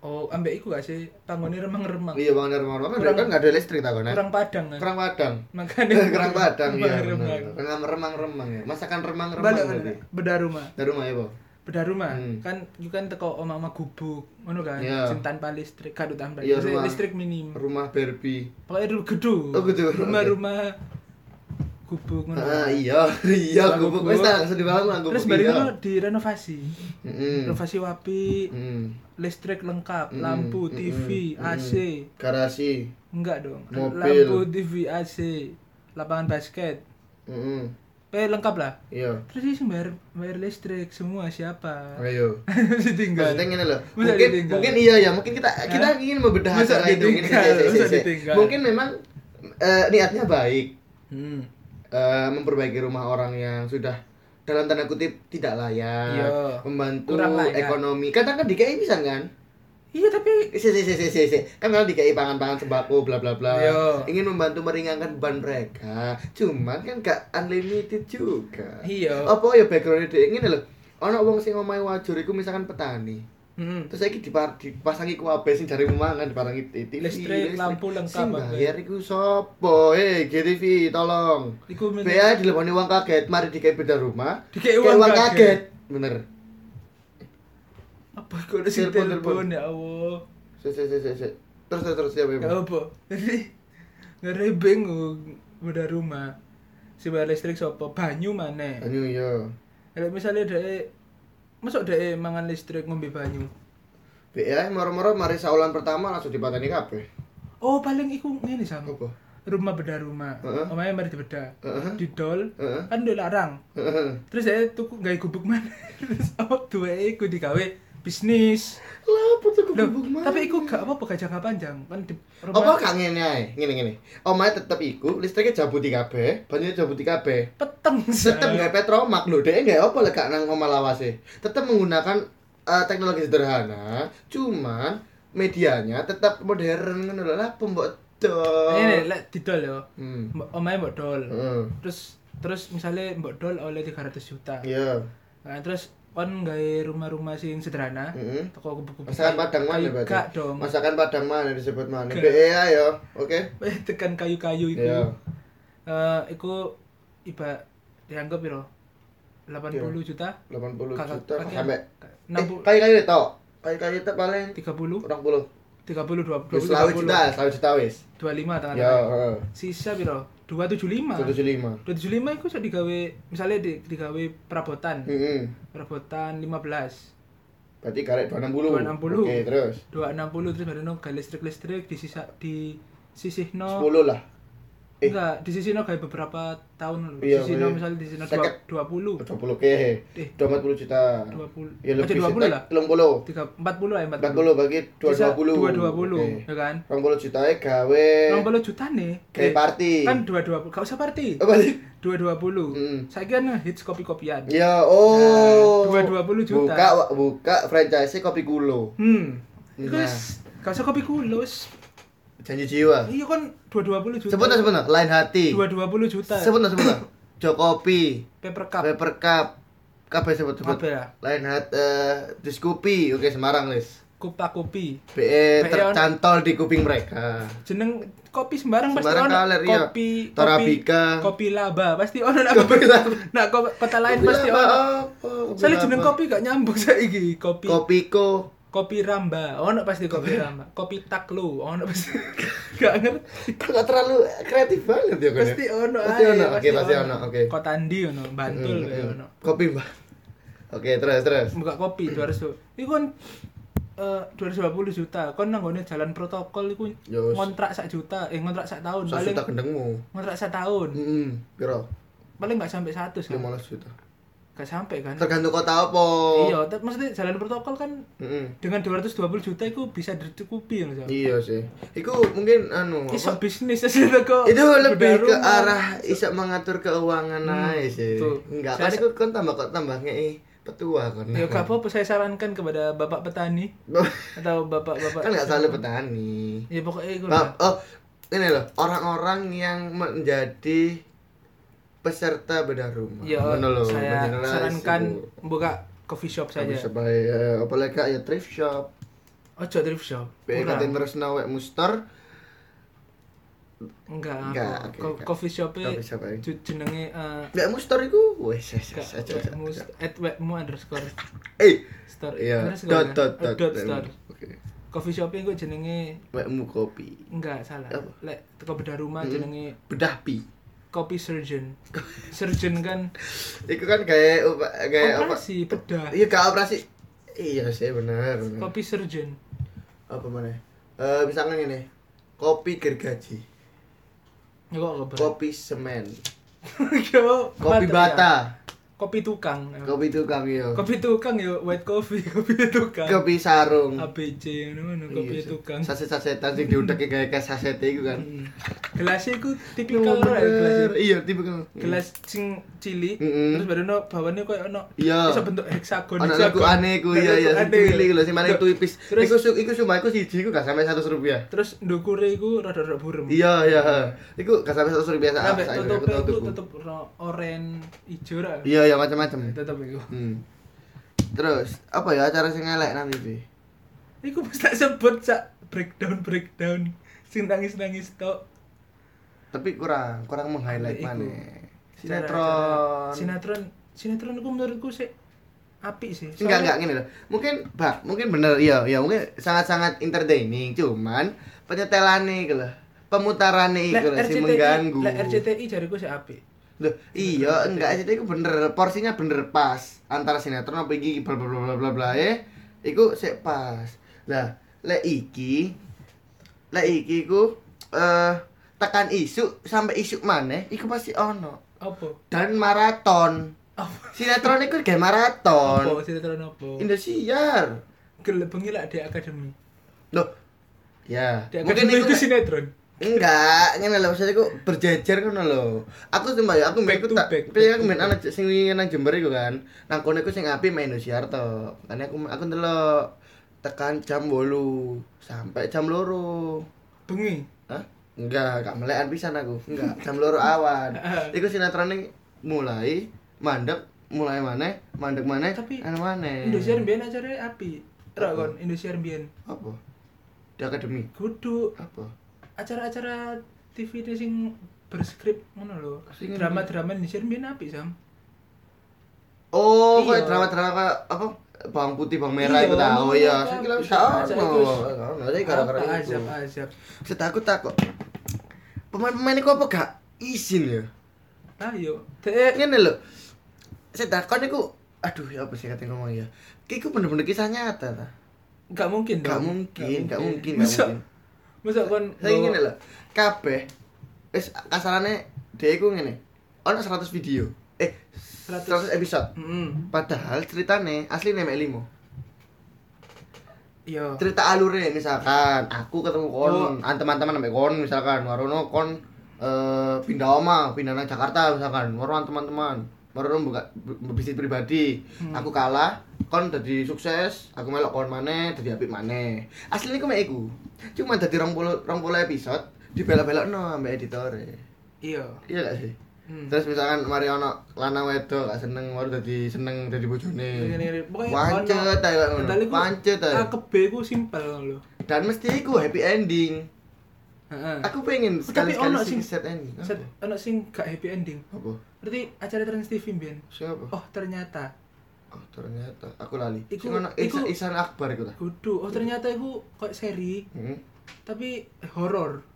[SPEAKER 2] Oh, ambek iku gak sih? Panggone remang-remang.
[SPEAKER 3] iya bang dari mana
[SPEAKER 2] Kurang-
[SPEAKER 3] kan nggak ada listrik tak kan
[SPEAKER 2] Kurang padang kan.
[SPEAKER 3] kurang padang
[SPEAKER 2] Makanya
[SPEAKER 3] kurang padang iya
[SPEAKER 2] Remang-remang.
[SPEAKER 3] kurang remang remang ya masakan remang remang
[SPEAKER 2] Balik
[SPEAKER 3] tadi
[SPEAKER 2] beda rumah.
[SPEAKER 3] dari rumah ya bang
[SPEAKER 2] beda rumah
[SPEAKER 3] Hmm.
[SPEAKER 2] kan itu kan teko omah-omah gubuk ngono kan
[SPEAKER 3] Iya.
[SPEAKER 2] sing tanpa listrik kadut tanpa
[SPEAKER 3] Iya,
[SPEAKER 2] listrik,
[SPEAKER 3] rumah.
[SPEAKER 2] listrik minim
[SPEAKER 3] rumah Barbie
[SPEAKER 2] pokoknya dulu gedung
[SPEAKER 3] Oh, gedung,
[SPEAKER 2] rumah-rumah gubuk ngono
[SPEAKER 3] ah iya iya
[SPEAKER 2] Gubuk.
[SPEAKER 3] gubuk wes tak langsung dibangun lah gubuk
[SPEAKER 2] terus baru
[SPEAKER 3] iya. Hmm.
[SPEAKER 2] itu direnovasi
[SPEAKER 3] Mm-mm.
[SPEAKER 2] renovasi wapi
[SPEAKER 3] Mm.
[SPEAKER 2] listrik lengkap
[SPEAKER 3] Mm-mm.
[SPEAKER 2] lampu
[SPEAKER 3] Mm-mm.
[SPEAKER 2] TV
[SPEAKER 3] Mm-mm.
[SPEAKER 2] AC
[SPEAKER 3] garasi
[SPEAKER 2] enggak dong
[SPEAKER 3] hmm, Mobil.
[SPEAKER 2] lampu TV AC lapangan basket
[SPEAKER 3] Mm-mm.
[SPEAKER 2] eh lengkap lah
[SPEAKER 3] iya
[SPEAKER 2] terus sih bayar bayar listrik semua siapa
[SPEAKER 3] ayo
[SPEAKER 2] ditinggal
[SPEAKER 3] Maksudnya gini loh,
[SPEAKER 2] Masa
[SPEAKER 3] mungkin
[SPEAKER 2] ditinggal?
[SPEAKER 3] mungkin iya ya, mungkin kita kita
[SPEAKER 2] Hah?
[SPEAKER 3] ingin membedah
[SPEAKER 2] Masa
[SPEAKER 3] acara itu. Mungkin,
[SPEAKER 2] ditinggal?
[SPEAKER 3] iya, iya, iya,
[SPEAKER 2] Masa
[SPEAKER 3] iya.
[SPEAKER 2] ditinggal?
[SPEAKER 3] mungkin memang eh, niatnya baik
[SPEAKER 2] hmm.
[SPEAKER 3] eh, memperbaiki rumah orang yang sudah dalam tanda kutip tidak layak,
[SPEAKER 2] Iya.
[SPEAKER 3] membantu
[SPEAKER 2] Kurang layak.
[SPEAKER 3] ekonomi. Kadang kan DKI bisa kan?
[SPEAKER 2] iya tapi
[SPEAKER 3] Si si si si si, si. Kan kalau DKI pangan-pangan sembako bla bla bla.
[SPEAKER 2] Iya.
[SPEAKER 3] Ingin membantu meringankan beban mereka. Cuman kan gak unlimited juga.
[SPEAKER 2] Iya.
[SPEAKER 3] Apa ya background dia ngene lho. Ono wong sing omahe wajur iku misalkan petani.
[SPEAKER 2] hmm.
[SPEAKER 3] Terus saiki dipar dipasangi kuabe sing jare mangan diparangi titi
[SPEAKER 2] Listrik, lampu lengkap,
[SPEAKER 3] Sing
[SPEAKER 2] Pak.
[SPEAKER 3] bayar iku sapa? Hei, GTV tolong.
[SPEAKER 2] Iku men-
[SPEAKER 3] BA dileboni uang kaget, mari dikei beda rumah.
[SPEAKER 2] Dikei
[SPEAKER 3] Kayak
[SPEAKER 2] uang kaget.
[SPEAKER 3] Bener.
[SPEAKER 2] apa kau udah sih
[SPEAKER 3] Telepon, telepon.
[SPEAKER 2] telepon ya Allah
[SPEAKER 3] Sik sik sik sik, sik. Terus terus terus siapa ya,
[SPEAKER 2] gak apa jadi gak ada yang bingung beda rumah si bayar listrik sopo banyu mana
[SPEAKER 3] Banyu yo.
[SPEAKER 2] kalau misalnya ada masuk ada mangan listrik ngombe banyu
[SPEAKER 3] BA moro-moro mari saulan pertama langsung dipateni kabeh.
[SPEAKER 2] oh paling iku ini sama
[SPEAKER 3] Apa?
[SPEAKER 2] rumah beda rumah
[SPEAKER 3] Heeh.
[SPEAKER 2] omanya mari dibeda
[SPEAKER 3] Heeh.
[SPEAKER 2] didol
[SPEAKER 3] Heeh.
[SPEAKER 2] kan udah larang
[SPEAKER 3] Heeh.
[SPEAKER 2] terus saya tuku gak gubuk mana terus awak dua iku digawe bisnis
[SPEAKER 3] Lah, apa tuh
[SPEAKER 2] Loh,
[SPEAKER 3] kebubuk mana?
[SPEAKER 2] tapi iku gak apa-apa gak jangka panjang kan di
[SPEAKER 3] apa kak ngene ae? Ngene ngene. Omahe tetep iku, listriknya jabuti kabeh, banyune jabuti kabeh.
[SPEAKER 2] peteng Shay.
[SPEAKER 3] tetap nggak petromak loh deh nggak apa lekak nang oma lawase tetap menggunakan eh, teknologi sederhana cuman medianya tetap modern ngono lho lah pembok
[SPEAKER 2] ini
[SPEAKER 3] dol
[SPEAKER 2] lek didol ya
[SPEAKER 3] hmm
[SPEAKER 2] Mbak- omahe mbok dol
[SPEAKER 3] Heeh.
[SPEAKER 2] terus terus misalnya mbok dol oleh 300 juta
[SPEAKER 3] iya
[SPEAKER 2] nah terus kon gawe rumah-rumah sing sederhana
[SPEAKER 3] Heeh.
[SPEAKER 2] toko kubu-kubu
[SPEAKER 3] Iya. masakan padang mana
[SPEAKER 2] kayu
[SPEAKER 3] berarti
[SPEAKER 2] gak dong
[SPEAKER 3] masakan padang mana disebut mana
[SPEAKER 2] Gak.
[SPEAKER 3] BE ayo ya. oke
[SPEAKER 2] Eh, tekan kayu-kayu itu
[SPEAKER 3] Iya.
[SPEAKER 2] Eh, iku iba dianggap piro 80 juta Kakak- kan
[SPEAKER 3] 80
[SPEAKER 2] ya?
[SPEAKER 3] juta
[SPEAKER 2] kakek.
[SPEAKER 3] sampai eh,
[SPEAKER 2] 60
[SPEAKER 3] kayak kayak itu kayak kayak itu paling
[SPEAKER 2] 30
[SPEAKER 3] orang puluh
[SPEAKER 2] 30 20
[SPEAKER 3] selawe juta
[SPEAKER 2] 30
[SPEAKER 3] selawe juta wis
[SPEAKER 2] 25 tangan
[SPEAKER 3] ya heeh.
[SPEAKER 2] sisa piro 275
[SPEAKER 3] 175 lima
[SPEAKER 2] 275 iku iso
[SPEAKER 3] Hmm.
[SPEAKER 2] digawe misalnya di, digawe perabotan
[SPEAKER 3] Heeh.
[SPEAKER 2] perabotan 15
[SPEAKER 3] Berarti karek 260.
[SPEAKER 2] 260.
[SPEAKER 3] Oke, terus.
[SPEAKER 2] 260 terus baru gak listrik-listrik di sisa di sisih no
[SPEAKER 3] 10 lah. eh.
[SPEAKER 2] enggak di sisi no kayak beberapa tahun di
[SPEAKER 3] Iya,
[SPEAKER 2] sisi no
[SPEAKER 3] iya.
[SPEAKER 2] misalnya di sisi no
[SPEAKER 3] Seket.
[SPEAKER 2] 20 20
[SPEAKER 3] 20 oke.
[SPEAKER 2] Eh.
[SPEAKER 3] 240 juta.
[SPEAKER 2] 20
[SPEAKER 3] Ya lebih
[SPEAKER 2] Aja 20 lah
[SPEAKER 3] 30.
[SPEAKER 2] tiga 40 ya 40
[SPEAKER 3] 40 bagi
[SPEAKER 2] 220
[SPEAKER 3] 220.
[SPEAKER 2] ya kan
[SPEAKER 3] 20 Eh. juta e gawe
[SPEAKER 2] 20 juta nih
[SPEAKER 3] Kayak
[SPEAKER 2] Eh,
[SPEAKER 3] party. Oh.
[SPEAKER 2] kan 220 gak usah party
[SPEAKER 3] apa sih?
[SPEAKER 2] 220
[SPEAKER 3] Mm.
[SPEAKER 2] saya kira kan hits kopi-kopian
[SPEAKER 3] Ya, oh.
[SPEAKER 2] Nah, 220 juta.
[SPEAKER 3] Buka buka franchise kopi kulo.
[SPEAKER 2] hmm itu
[SPEAKER 3] Nah.
[SPEAKER 2] wis- gak usah kopi kulus
[SPEAKER 3] Janji jiwa.
[SPEAKER 2] iya kan 220 juta
[SPEAKER 3] Sebut sebut lain hati.
[SPEAKER 2] 220 juta
[SPEAKER 3] Sebut sebut Jokopi,
[SPEAKER 2] paper cup
[SPEAKER 3] Paper Cup, kabeh sebut sebut.
[SPEAKER 2] Kabeh ya.
[SPEAKER 3] Lain hati eh, Diskupi, oke Semarang, Lis.
[SPEAKER 2] kupa kopi
[SPEAKER 3] BE eh,
[SPEAKER 2] BE
[SPEAKER 3] tercantol di kuping mereka.
[SPEAKER 2] jeneng kopi sembarang pasti
[SPEAKER 3] Sembarang
[SPEAKER 2] ono.
[SPEAKER 3] kaler, iya.
[SPEAKER 2] kopi
[SPEAKER 3] Torabika.
[SPEAKER 2] kopi, kopi laba pasti ono nak
[SPEAKER 3] Kopi
[SPEAKER 2] kopi
[SPEAKER 3] laba.
[SPEAKER 2] nak ko- kota lain pasti
[SPEAKER 3] Kopi
[SPEAKER 2] ono
[SPEAKER 3] apa?
[SPEAKER 2] soalnya
[SPEAKER 3] apa?
[SPEAKER 2] jeneng kopi gak nyambung saiki kopi
[SPEAKER 3] Kopiko.
[SPEAKER 2] kopi ramba ono pasti kopi ramba kopi taklu ono pasti gak ngerti
[SPEAKER 3] Kok terlalu kreatif banget ya Gun, ya?
[SPEAKER 2] pasti ono
[SPEAKER 3] Pasti
[SPEAKER 2] ae,
[SPEAKER 3] ono. Oke, pasti ono. Oke.
[SPEAKER 2] kotandi ono bantul
[SPEAKER 3] Hmm,
[SPEAKER 2] ya
[SPEAKER 3] hmm.
[SPEAKER 2] ono
[SPEAKER 3] Kopi, Mbak. Oke, terus terus.
[SPEAKER 2] buka kopi 200 iku kan eh, 220 juta kon nanggone jalan protokol iku
[SPEAKER 3] Yos.
[SPEAKER 2] ngontrak sak juta eh ngontrak sak tahun
[SPEAKER 3] Satu
[SPEAKER 2] paling
[SPEAKER 3] Ya juta gendengmu.
[SPEAKER 2] ngontrak sak tahun
[SPEAKER 3] Heeh. Piro?
[SPEAKER 2] paling gak sampai 100 kan
[SPEAKER 3] 15 juta.
[SPEAKER 2] gak sampai kan
[SPEAKER 3] Tergantung kota apa.
[SPEAKER 2] Ah. iya tapi maksudnya jalan protokol kan
[SPEAKER 3] Mm-mm.
[SPEAKER 2] dengan 220 juta itu bisa dicukupi yang Iya.
[SPEAKER 3] Iya sih. Iku mungkin anu. apa?
[SPEAKER 2] Iso bisnis aja kok.
[SPEAKER 3] Itu lebih
[SPEAKER 2] Beda
[SPEAKER 3] ke
[SPEAKER 2] rumah.
[SPEAKER 3] arah iso mengatur keuangan aja
[SPEAKER 2] Hmm,
[SPEAKER 3] sih.
[SPEAKER 2] betul.
[SPEAKER 3] Enggak, kan
[SPEAKER 2] Saya-
[SPEAKER 3] iku kon tambah kok tambah ngei petua kon.
[SPEAKER 2] Ya gak apa-apa saya sarankan kepada bapak petani atau bapak-bapak
[SPEAKER 3] kan nggak selalu petani.
[SPEAKER 2] Ya pokoknya itu
[SPEAKER 3] Bab-
[SPEAKER 2] lah.
[SPEAKER 3] oh, ini loh, orang-orang yang menjadi peserta bedah rumah.
[SPEAKER 2] Ya
[SPEAKER 3] Ngono loh,
[SPEAKER 2] saya
[SPEAKER 3] menjelaskan.
[SPEAKER 2] sarankan buka coffee shop
[SPEAKER 3] Tapi
[SPEAKER 2] saja.
[SPEAKER 3] sebagai eh, apalagi kayak ya thrift shop,
[SPEAKER 2] Ojo thrift shop.
[SPEAKER 3] BK
[SPEAKER 2] Kurang.
[SPEAKER 3] terus nawe muster,
[SPEAKER 2] Enggak.
[SPEAKER 3] Enggak,
[SPEAKER 2] kok.
[SPEAKER 3] oke,
[SPEAKER 2] Co-
[SPEAKER 3] enggak.
[SPEAKER 2] Coffee shop e
[SPEAKER 3] Coffee shop aja.
[SPEAKER 2] jenenge eh,
[SPEAKER 3] nggak muster itu, wes wes
[SPEAKER 2] Kak,
[SPEAKER 3] wes, wes,
[SPEAKER 2] webmu-
[SPEAKER 3] wes.
[SPEAKER 2] at webmu underscore
[SPEAKER 3] Eh,
[SPEAKER 2] store
[SPEAKER 3] iya,
[SPEAKER 2] underscore, kan?
[SPEAKER 3] dot
[SPEAKER 2] Eh,
[SPEAKER 3] dot dot,
[SPEAKER 2] dot
[SPEAKER 3] wekmu.
[SPEAKER 2] store
[SPEAKER 3] Oke,
[SPEAKER 2] coffee shopnya gue jenenge
[SPEAKER 3] wekmu kopi,
[SPEAKER 2] Enggak, salah.
[SPEAKER 3] Apa?
[SPEAKER 2] Lek teko bedah rumah jenenge
[SPEAKER 3] bedah pi.
[SPEAKER 2] copy surgeon. surgeon kan
[SPEAKER 3] Itu kan kayak upa- kayak apa?
[SPEAKER 2] operasi bedah.
[SPEAKER 3] Iya, kayak operasi. Iya sih benar. benar.
[SPEAKER 2] Copy surgeon.
[SPEAKER 3] Apa mana? Eh, misalkan ini kopi gergaji,
[SPEAKER 2] Ya kok gak berat.
[SPEAKER 3] kopi semen,
[SPEAKER 2] Yo,
[SPEAKER 3] kopi
[SPEAKER 2] ya.
[SPEAKER 3] bata,
[SPEAKER 2] Kopi tukang.
[SPEAKER 3] kopi tukang yo,
[SPEAKER 2] Iya. Kopi tukang ya white coffee, kopi tukang.
[SPEAKER 3] kopi sarung,
[SPEAKER 2] ABC ngono kopi
[SPEAKER 3] Iya,
[SPEAKER 2] tukang. Hmm.
[SPEAKER 3] saset sasetan sing diudeki kayak kayak saset itu kan
[SPEAKER 2] Gelasnya ku tipikal
[SPEAKER 3] Bener.
[SPEAKER 2] ora ya gelasnya.
[SPEAKER 3] iya tipe kan
[SPEAKER 2] Gelas sing cilik,
[SPEAKER 3] Mm-mm.
[SPEAKER 2] terus baru no bawaannya koyo ono
[SPEAKER 3] Iya.
[SPEAKER 2] iso bentuk heksagon.
[SPEAKER 3] Anak lagu aneh ku iya iya sing cilik lho sing mana tuipis.
[SPEAKER 2] Terus
[SPEAKER 3] Iku su- iku sumpah iku siji iku gak sampe 100 rupiah.
[SPEAKER 2] terus ndukure iku rada-rada burem.
[SPEAKER 3] Iya ah, iya. Iku gak sampe 100 rupiah sak
[SPEAKER 2] Sampai
[SPEAKER 3] sak iku,
[SPEAKER 2] tutup
[SPEAKER 3] aku tau
[SPEAKER 2] itu
[SPEAKER 3] tuku.
[SPEAKER 2] tutup ro- oren ijo ra.
[SPEAKER 3] Iya iya macam-macam.
[SPEAKER 2] Tutup iku.
[SPEAKER 3] Hmm. Terus apa ya acara sing elek nanti sih?
[SPEAKER 2] Iku mesti tak sebut sak breakdown breakdown sing nangis-nangis tok.
[SPEAKER 3] Tapi kurang kurang meng-highlight
[SPEAKER 2] Iku.
[SPEAKER 3] mana.
[SPEAKER 2] Acara-acara-
[SPEAKER 3] Sinetron.
[SPEAKER 2] Sinetron. Sinetron iku menurutku sih apik sih.
[SPEAKER 3] Enggak enggak gini loh. Mungkin Pak, mungkin bener iya iya mungkin sangat-sangat entertaining cuman penyetelannya iku loh. Pemutarane
[SPEAKER 2] Lek
[SPEAKER 3] iku loh sih
[SPEAKER 2] RCTI
[SPEAKER 3] mengganggu.
[SPEAKER 2] Lek RCTI jariku sih apik.
[SPEAKER 3] Loh, iya, enggak aja itu bener, porsinya bener pas antara sinetron apa iki bla bla bla bla bla bla eh iku sik pas. Lah, lek iki lek iki ku eh tekan isu sampai isu maneh iku pasti ono.
[SPEAKER 2] Apa?
[SPEAKER 3] Dan maraton.
[SPEAKER 2] Apa?
[SPEAKER 3] Sinetron iku kayak
[SPEAKER 2] Apa
[SPEAKER 3] maraton.
[SPEAKER 2] sinetron apa?
[SPEAKER 3] Indosiar.
[SPEAKER 2] Gelebengi lah di akademi.
[SPEAKER 3] Loh. Ya,
[SPEAKER 2] Di
[SPEAKER 3] mungkin
[SPEAKER 2] akademi
[SPEAKER 3] iku
[SPEAKER 2] itu sinetron.
[SPEAKER 3] Enggak, ngene lho maksudnya kok berjejer ngono lho. Aku sumpah ya, aku
[SPEAKER 2] Back
[SPEAKER 3] aku
[SPEAKER 2] to
[SPEAKER 3] tak
[SPEAKER 2] back, back
[SPEAKER 3] pilih aku
[SPEAKER 2] to
[SPEAKER 3] main anak sing wingi nang Jember iku kan. Nang kono iku sing apik main Indosiar to. Kan aku aku ndelok tekan jam 8 sampai jam 2.
[SPEAKER 2] Bengi.
[SPEAKER 3] Hah? Enggak, gak melekan pisan aku. Enggak, jam 2 awan. Iku sinetrone mulai mandek, mulai maneh, mandek maneh,
[SPEAKER 2] Tapi,
[SPEAKER 3] anu maneh.
[SPEAKER 2] Indosiar mbiyen acarane apik. Ra kon Indosiar mbiyen.
[SPEAKER 3] apa? Di akademi
[SPEAKER 2] Kudu
[SPEAKER 3] apa?
[SPEAKER 2] acara-acara TV ini sing berskrip ngono lho.
[SPEAKER 3] Sing-
[SPEAKER 2] Drama-drama Indosiar mbiyen apik, Sam.
[SPEAKER 3] Oh, kayak
[SPEAKER 2] Iya.
[SPEAKER 3] drama-drama kayak apa? Bawang putih, bawang merah
[SPEAKER 2] Iya,
[SPEAKER 3] itu tahu
[SPEAKER 2] iya,
[SPEAKER 3] ya.
[SPEAKER 2] iya.
[SPEAKER 3] Saya kira
[SPEAKER 2] Bisa
[SPEAKER 3] bisa
[SPEAKER 2] aja
[SPEAKER 3] ono.
[SPEAKER 2] itu.
[SPEAKER 3] Ono aja gara-gara
[SPEAKER 2] Apa
[SPEAKER 3] itu.
[SPEAKER 2] Azab-azab.
[SPEAKER 3] Saya takut takut. Pemain-pemain iku apa gak izin ya?
[SPEAKER 2] Ayo. Dek
[SPEAKER 3] Ngene lho. Saya takut niku aduh ya apa sih kata ngomong ya kiku bener-bener kisah nyata ta
[SPEAKER 2] Gak mungkin dong.
[SPEAKER 3] Gak mungkin, gak mungkin, gak
[SPEAKER 2] Masa,
[SPEAKER 3] mungkin.
[SPEAKER 2] masa kon
[SPEAKER 3] saya
[SPEAKER 2] bawa-
[SPEAKER 3] ingin lho kabeh wis kasarane dia iku ngene ono 100 video eh
[SPEAKER 2] 100.
[SPEAKER 3] 100, episode
[SPEAKER 2] Mm-mm.
[SPEAKER 3] padahal ceritane asli nemek limo
[SPEAKER 2] Iya.
[SPEAKER 3] cerita alure misalkan aku ketemu kon an teman-teman sampai kon misalkan warono kon eh, pindah oma pindah nang Jakarta misalkan warono teman-teman warono buka bu- bisnis pribadi aku kalah kon jadi sukses aku melok kon maneh jadi apik maneh aslinya aku mek iku cuma jadi 20 20 episode dibelok-belokno ambek editore
[SPEAKER 2] Iya.
[SPEAKER 3] iya gak sih
[SPEAKER 2] Hmm.
[SPEAKER 3] Terus misalkan mari ono lanang wedok gak seneng baru dadi seneng dadi bojone.
[SPEAKER 2] Ngene-ngene. Pokoknya
[SPEAKER 3] Pancet
[SPEAKER 2] ono-
[SPEAKER 3] ae kok ngono.
[SPEAKER 2] Padahal iku
[SPEAKER 3] Pancet eh. ae.
[SPEAKER 2] KKB ku simpel lho.
[SPEAKER 3] Dan mesti iku happy ending.
[SPEAKER 2] Heeh.
[SPEAKER 3] Aku pengen sekali sekali
[SPEAKER 2] Eh. Oh, ono
[SPEAKER 3] sih
[SPEAKER 2] sing-
[SPEAKER 3] set ending.
[SPEAKER 2] Set ono sing gak happy ending.
[SPEAKER 3] Apa?
[SPEAKER 2] Berarti acara Trans TV mbiyen.
[SPEAKER 3] Siapa? Oh.
[SPEAKER 2] Oh, ternyata.
[SPEAKER 3] ternyata aku lali.
[SPEAKER 2] Iku-
[SPEAKER 3] Iku ono
[SPEAKER 2] iku-
[SPEAKER 3] Ihsan Ihsan Akbar iku ta.
[SPEAKER 2] Kudu. Oh, ternyata iku koyo seri
[SPEAKER 3] Hmm.
[SPEAKER 2] tapi eh, horor.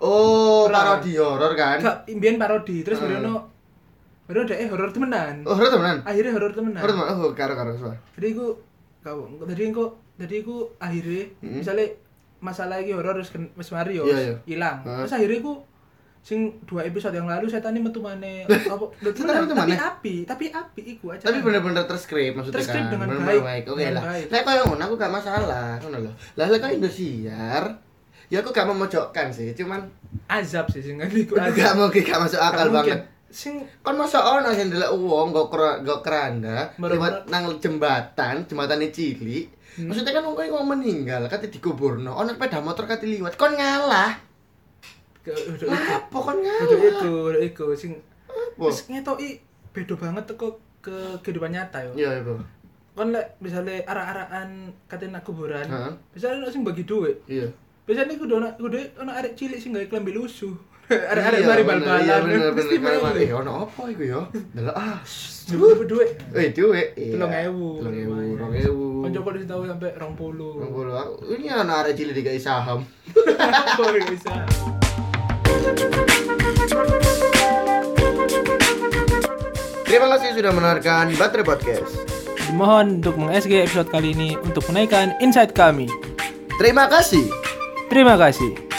[SPEAKER 3] Oh,
[SPEAKER 2] Horor.
[SPEAKER 3] parodi horor kan?
[SPEAKER 2] Gak mbiyen parodi, terus
[SPEAKER 3] Hmm.
[SPEAKER 2] barono barono dhek horor eh, temenan.
[SPEAKER 3] Oh, horor temenan.
[SPEAKER 2] Akhirnya horor temenan.
[SPEAKER 3] Horor temenan. Oh, karo karo suara.
[SPEAKER 2] jadi aku kau jadi aku jadi aku akhirnya
[SPEAKER 3] Mm-mm.
[SPEAKER 2] misalnya masalah lagi horor terus ken- wis mari yo
[SPEAKER 3] Mm-hmm. Iya,
[SPEAKER 2] wis
[SPEAKER 3] iya.
[SPEAKER 2] hilang
[SPEAKER 3] Heeh.
[SPEAKER 2] terus akhirnya aku sing dua episode yang lalu setan ini metu maneh apa lho, temenan,
[SPEAKER 3] Setan metu
[SPEAKER 2] tapi
[SPEAKER 3] maneh?
[SPEAKER 2] api tapi api iku aja
[SPEAKER 3] Tapi bener-bener terskrip maksudnya
[SPEAKER 2] Terskrip
[SPEAKER 3] kan.
[SPEAKER 2] dengan
[SPEAKER 3] Bener-bener
[SPEAKER 2] baik.
[SPEAKER 3] Oke
[SPEAKER 2] Dengan
[SPEAKER 3] lah.
[SPEAKER 2] baik.
[SPEAKER 3] Nek koyo ngono aku gak masalah, ngono lho. Lah lek koyo Indosiar, ya aku gak memojokkan sih, cuman
[SPEAKER 2] azab sih sing ngene iku azab.
[SPEAKER 3] gak mungkin gak masuk
[SPEAKER 2] Gak
[SPEAKER 3] akal
[SPEAKER 2] mungkin.
[SPEAKER 3] banget.
[SPEAKER 2] sing
[SPEAKER 3] Kon Kan masa ono sing ndelok wong go kera- go keranda
[SPEAKER 2] Baru-
[SPEAKER 3] lewat nang jembatan, jembatane cilik.
[SPEAKER 2] Hmm.
[SPEAKER 3] Maksudnya kan wong kowe wong meninggal, kate dikuburno, ono sepeda motor kate liwat, kon ngalah.
[SPEAKER 2] ke- udah
[SPEAKER 3] Lah
[SPEAKER 2] iku
[SPEAKER 3] apa kon
[SPEAKER 2] udah
[SPEAKER 3] ngalah?
[SPEAKER 2] iku udah iku sing
[SPEAKER 3] Apa?
[SPEAKER 2] terus ngetoki beda banget teko ke kehidupan nyata yo
[SPEAKER 3] Iya, Bro.
[SPEAKER 2] kon lek misalnya arah-arahan katanya nak kuburan
[SPEAKER 3] Heeh.
[SPEAKER 2] misalnya nak sing bagi duit
[SPEAKER 3] Iya.
[SPEAKER 2] Biasanya aku dono aku dhewe ono arek cilik sing gawe klambi lusuh. Arek-arek
[SPEAKER 3] Iya,
[SPEAKER 2] mari
[SPEAKER 3] bener, Iya,
[SPEAKER 2] bal-balan.
[SPEAKER 3] bener
[SPEAKER 2] Mesti
[SPEAKER 3] bener.
[SPEAKER 2] mau.
[SPEAKER 3] Kayak, Eh, ono apa iku ya? Ndelok ah.
[SPEAKER 2] Cukup duit.
[SPEAKER 3] Eh, duit.
[SPEAKER 2] Telung ewu.
[SPEAKER 3] Telung ewu,
[SPEAKER 2] lumayan.
[SPEAKER 3] rong ewu.
[SPEAKER 2] Kancaku wis tau sampe 20.
[SPEAKER 3] Rong puluh aku. Ini ono arek cilik dikai saham.
[SPEAKER 2] Kok bisa.
[SPEAKER 3] Terima kasih sudah mendengarkan Baterai Podcast.
[SPEAKER 2] Mohon untuk meng-SG episode kali ini untuk menaikkan insight kami.
[SPEAKER 3] Terima kasih.
[SPEAKER 2] Terima kasih.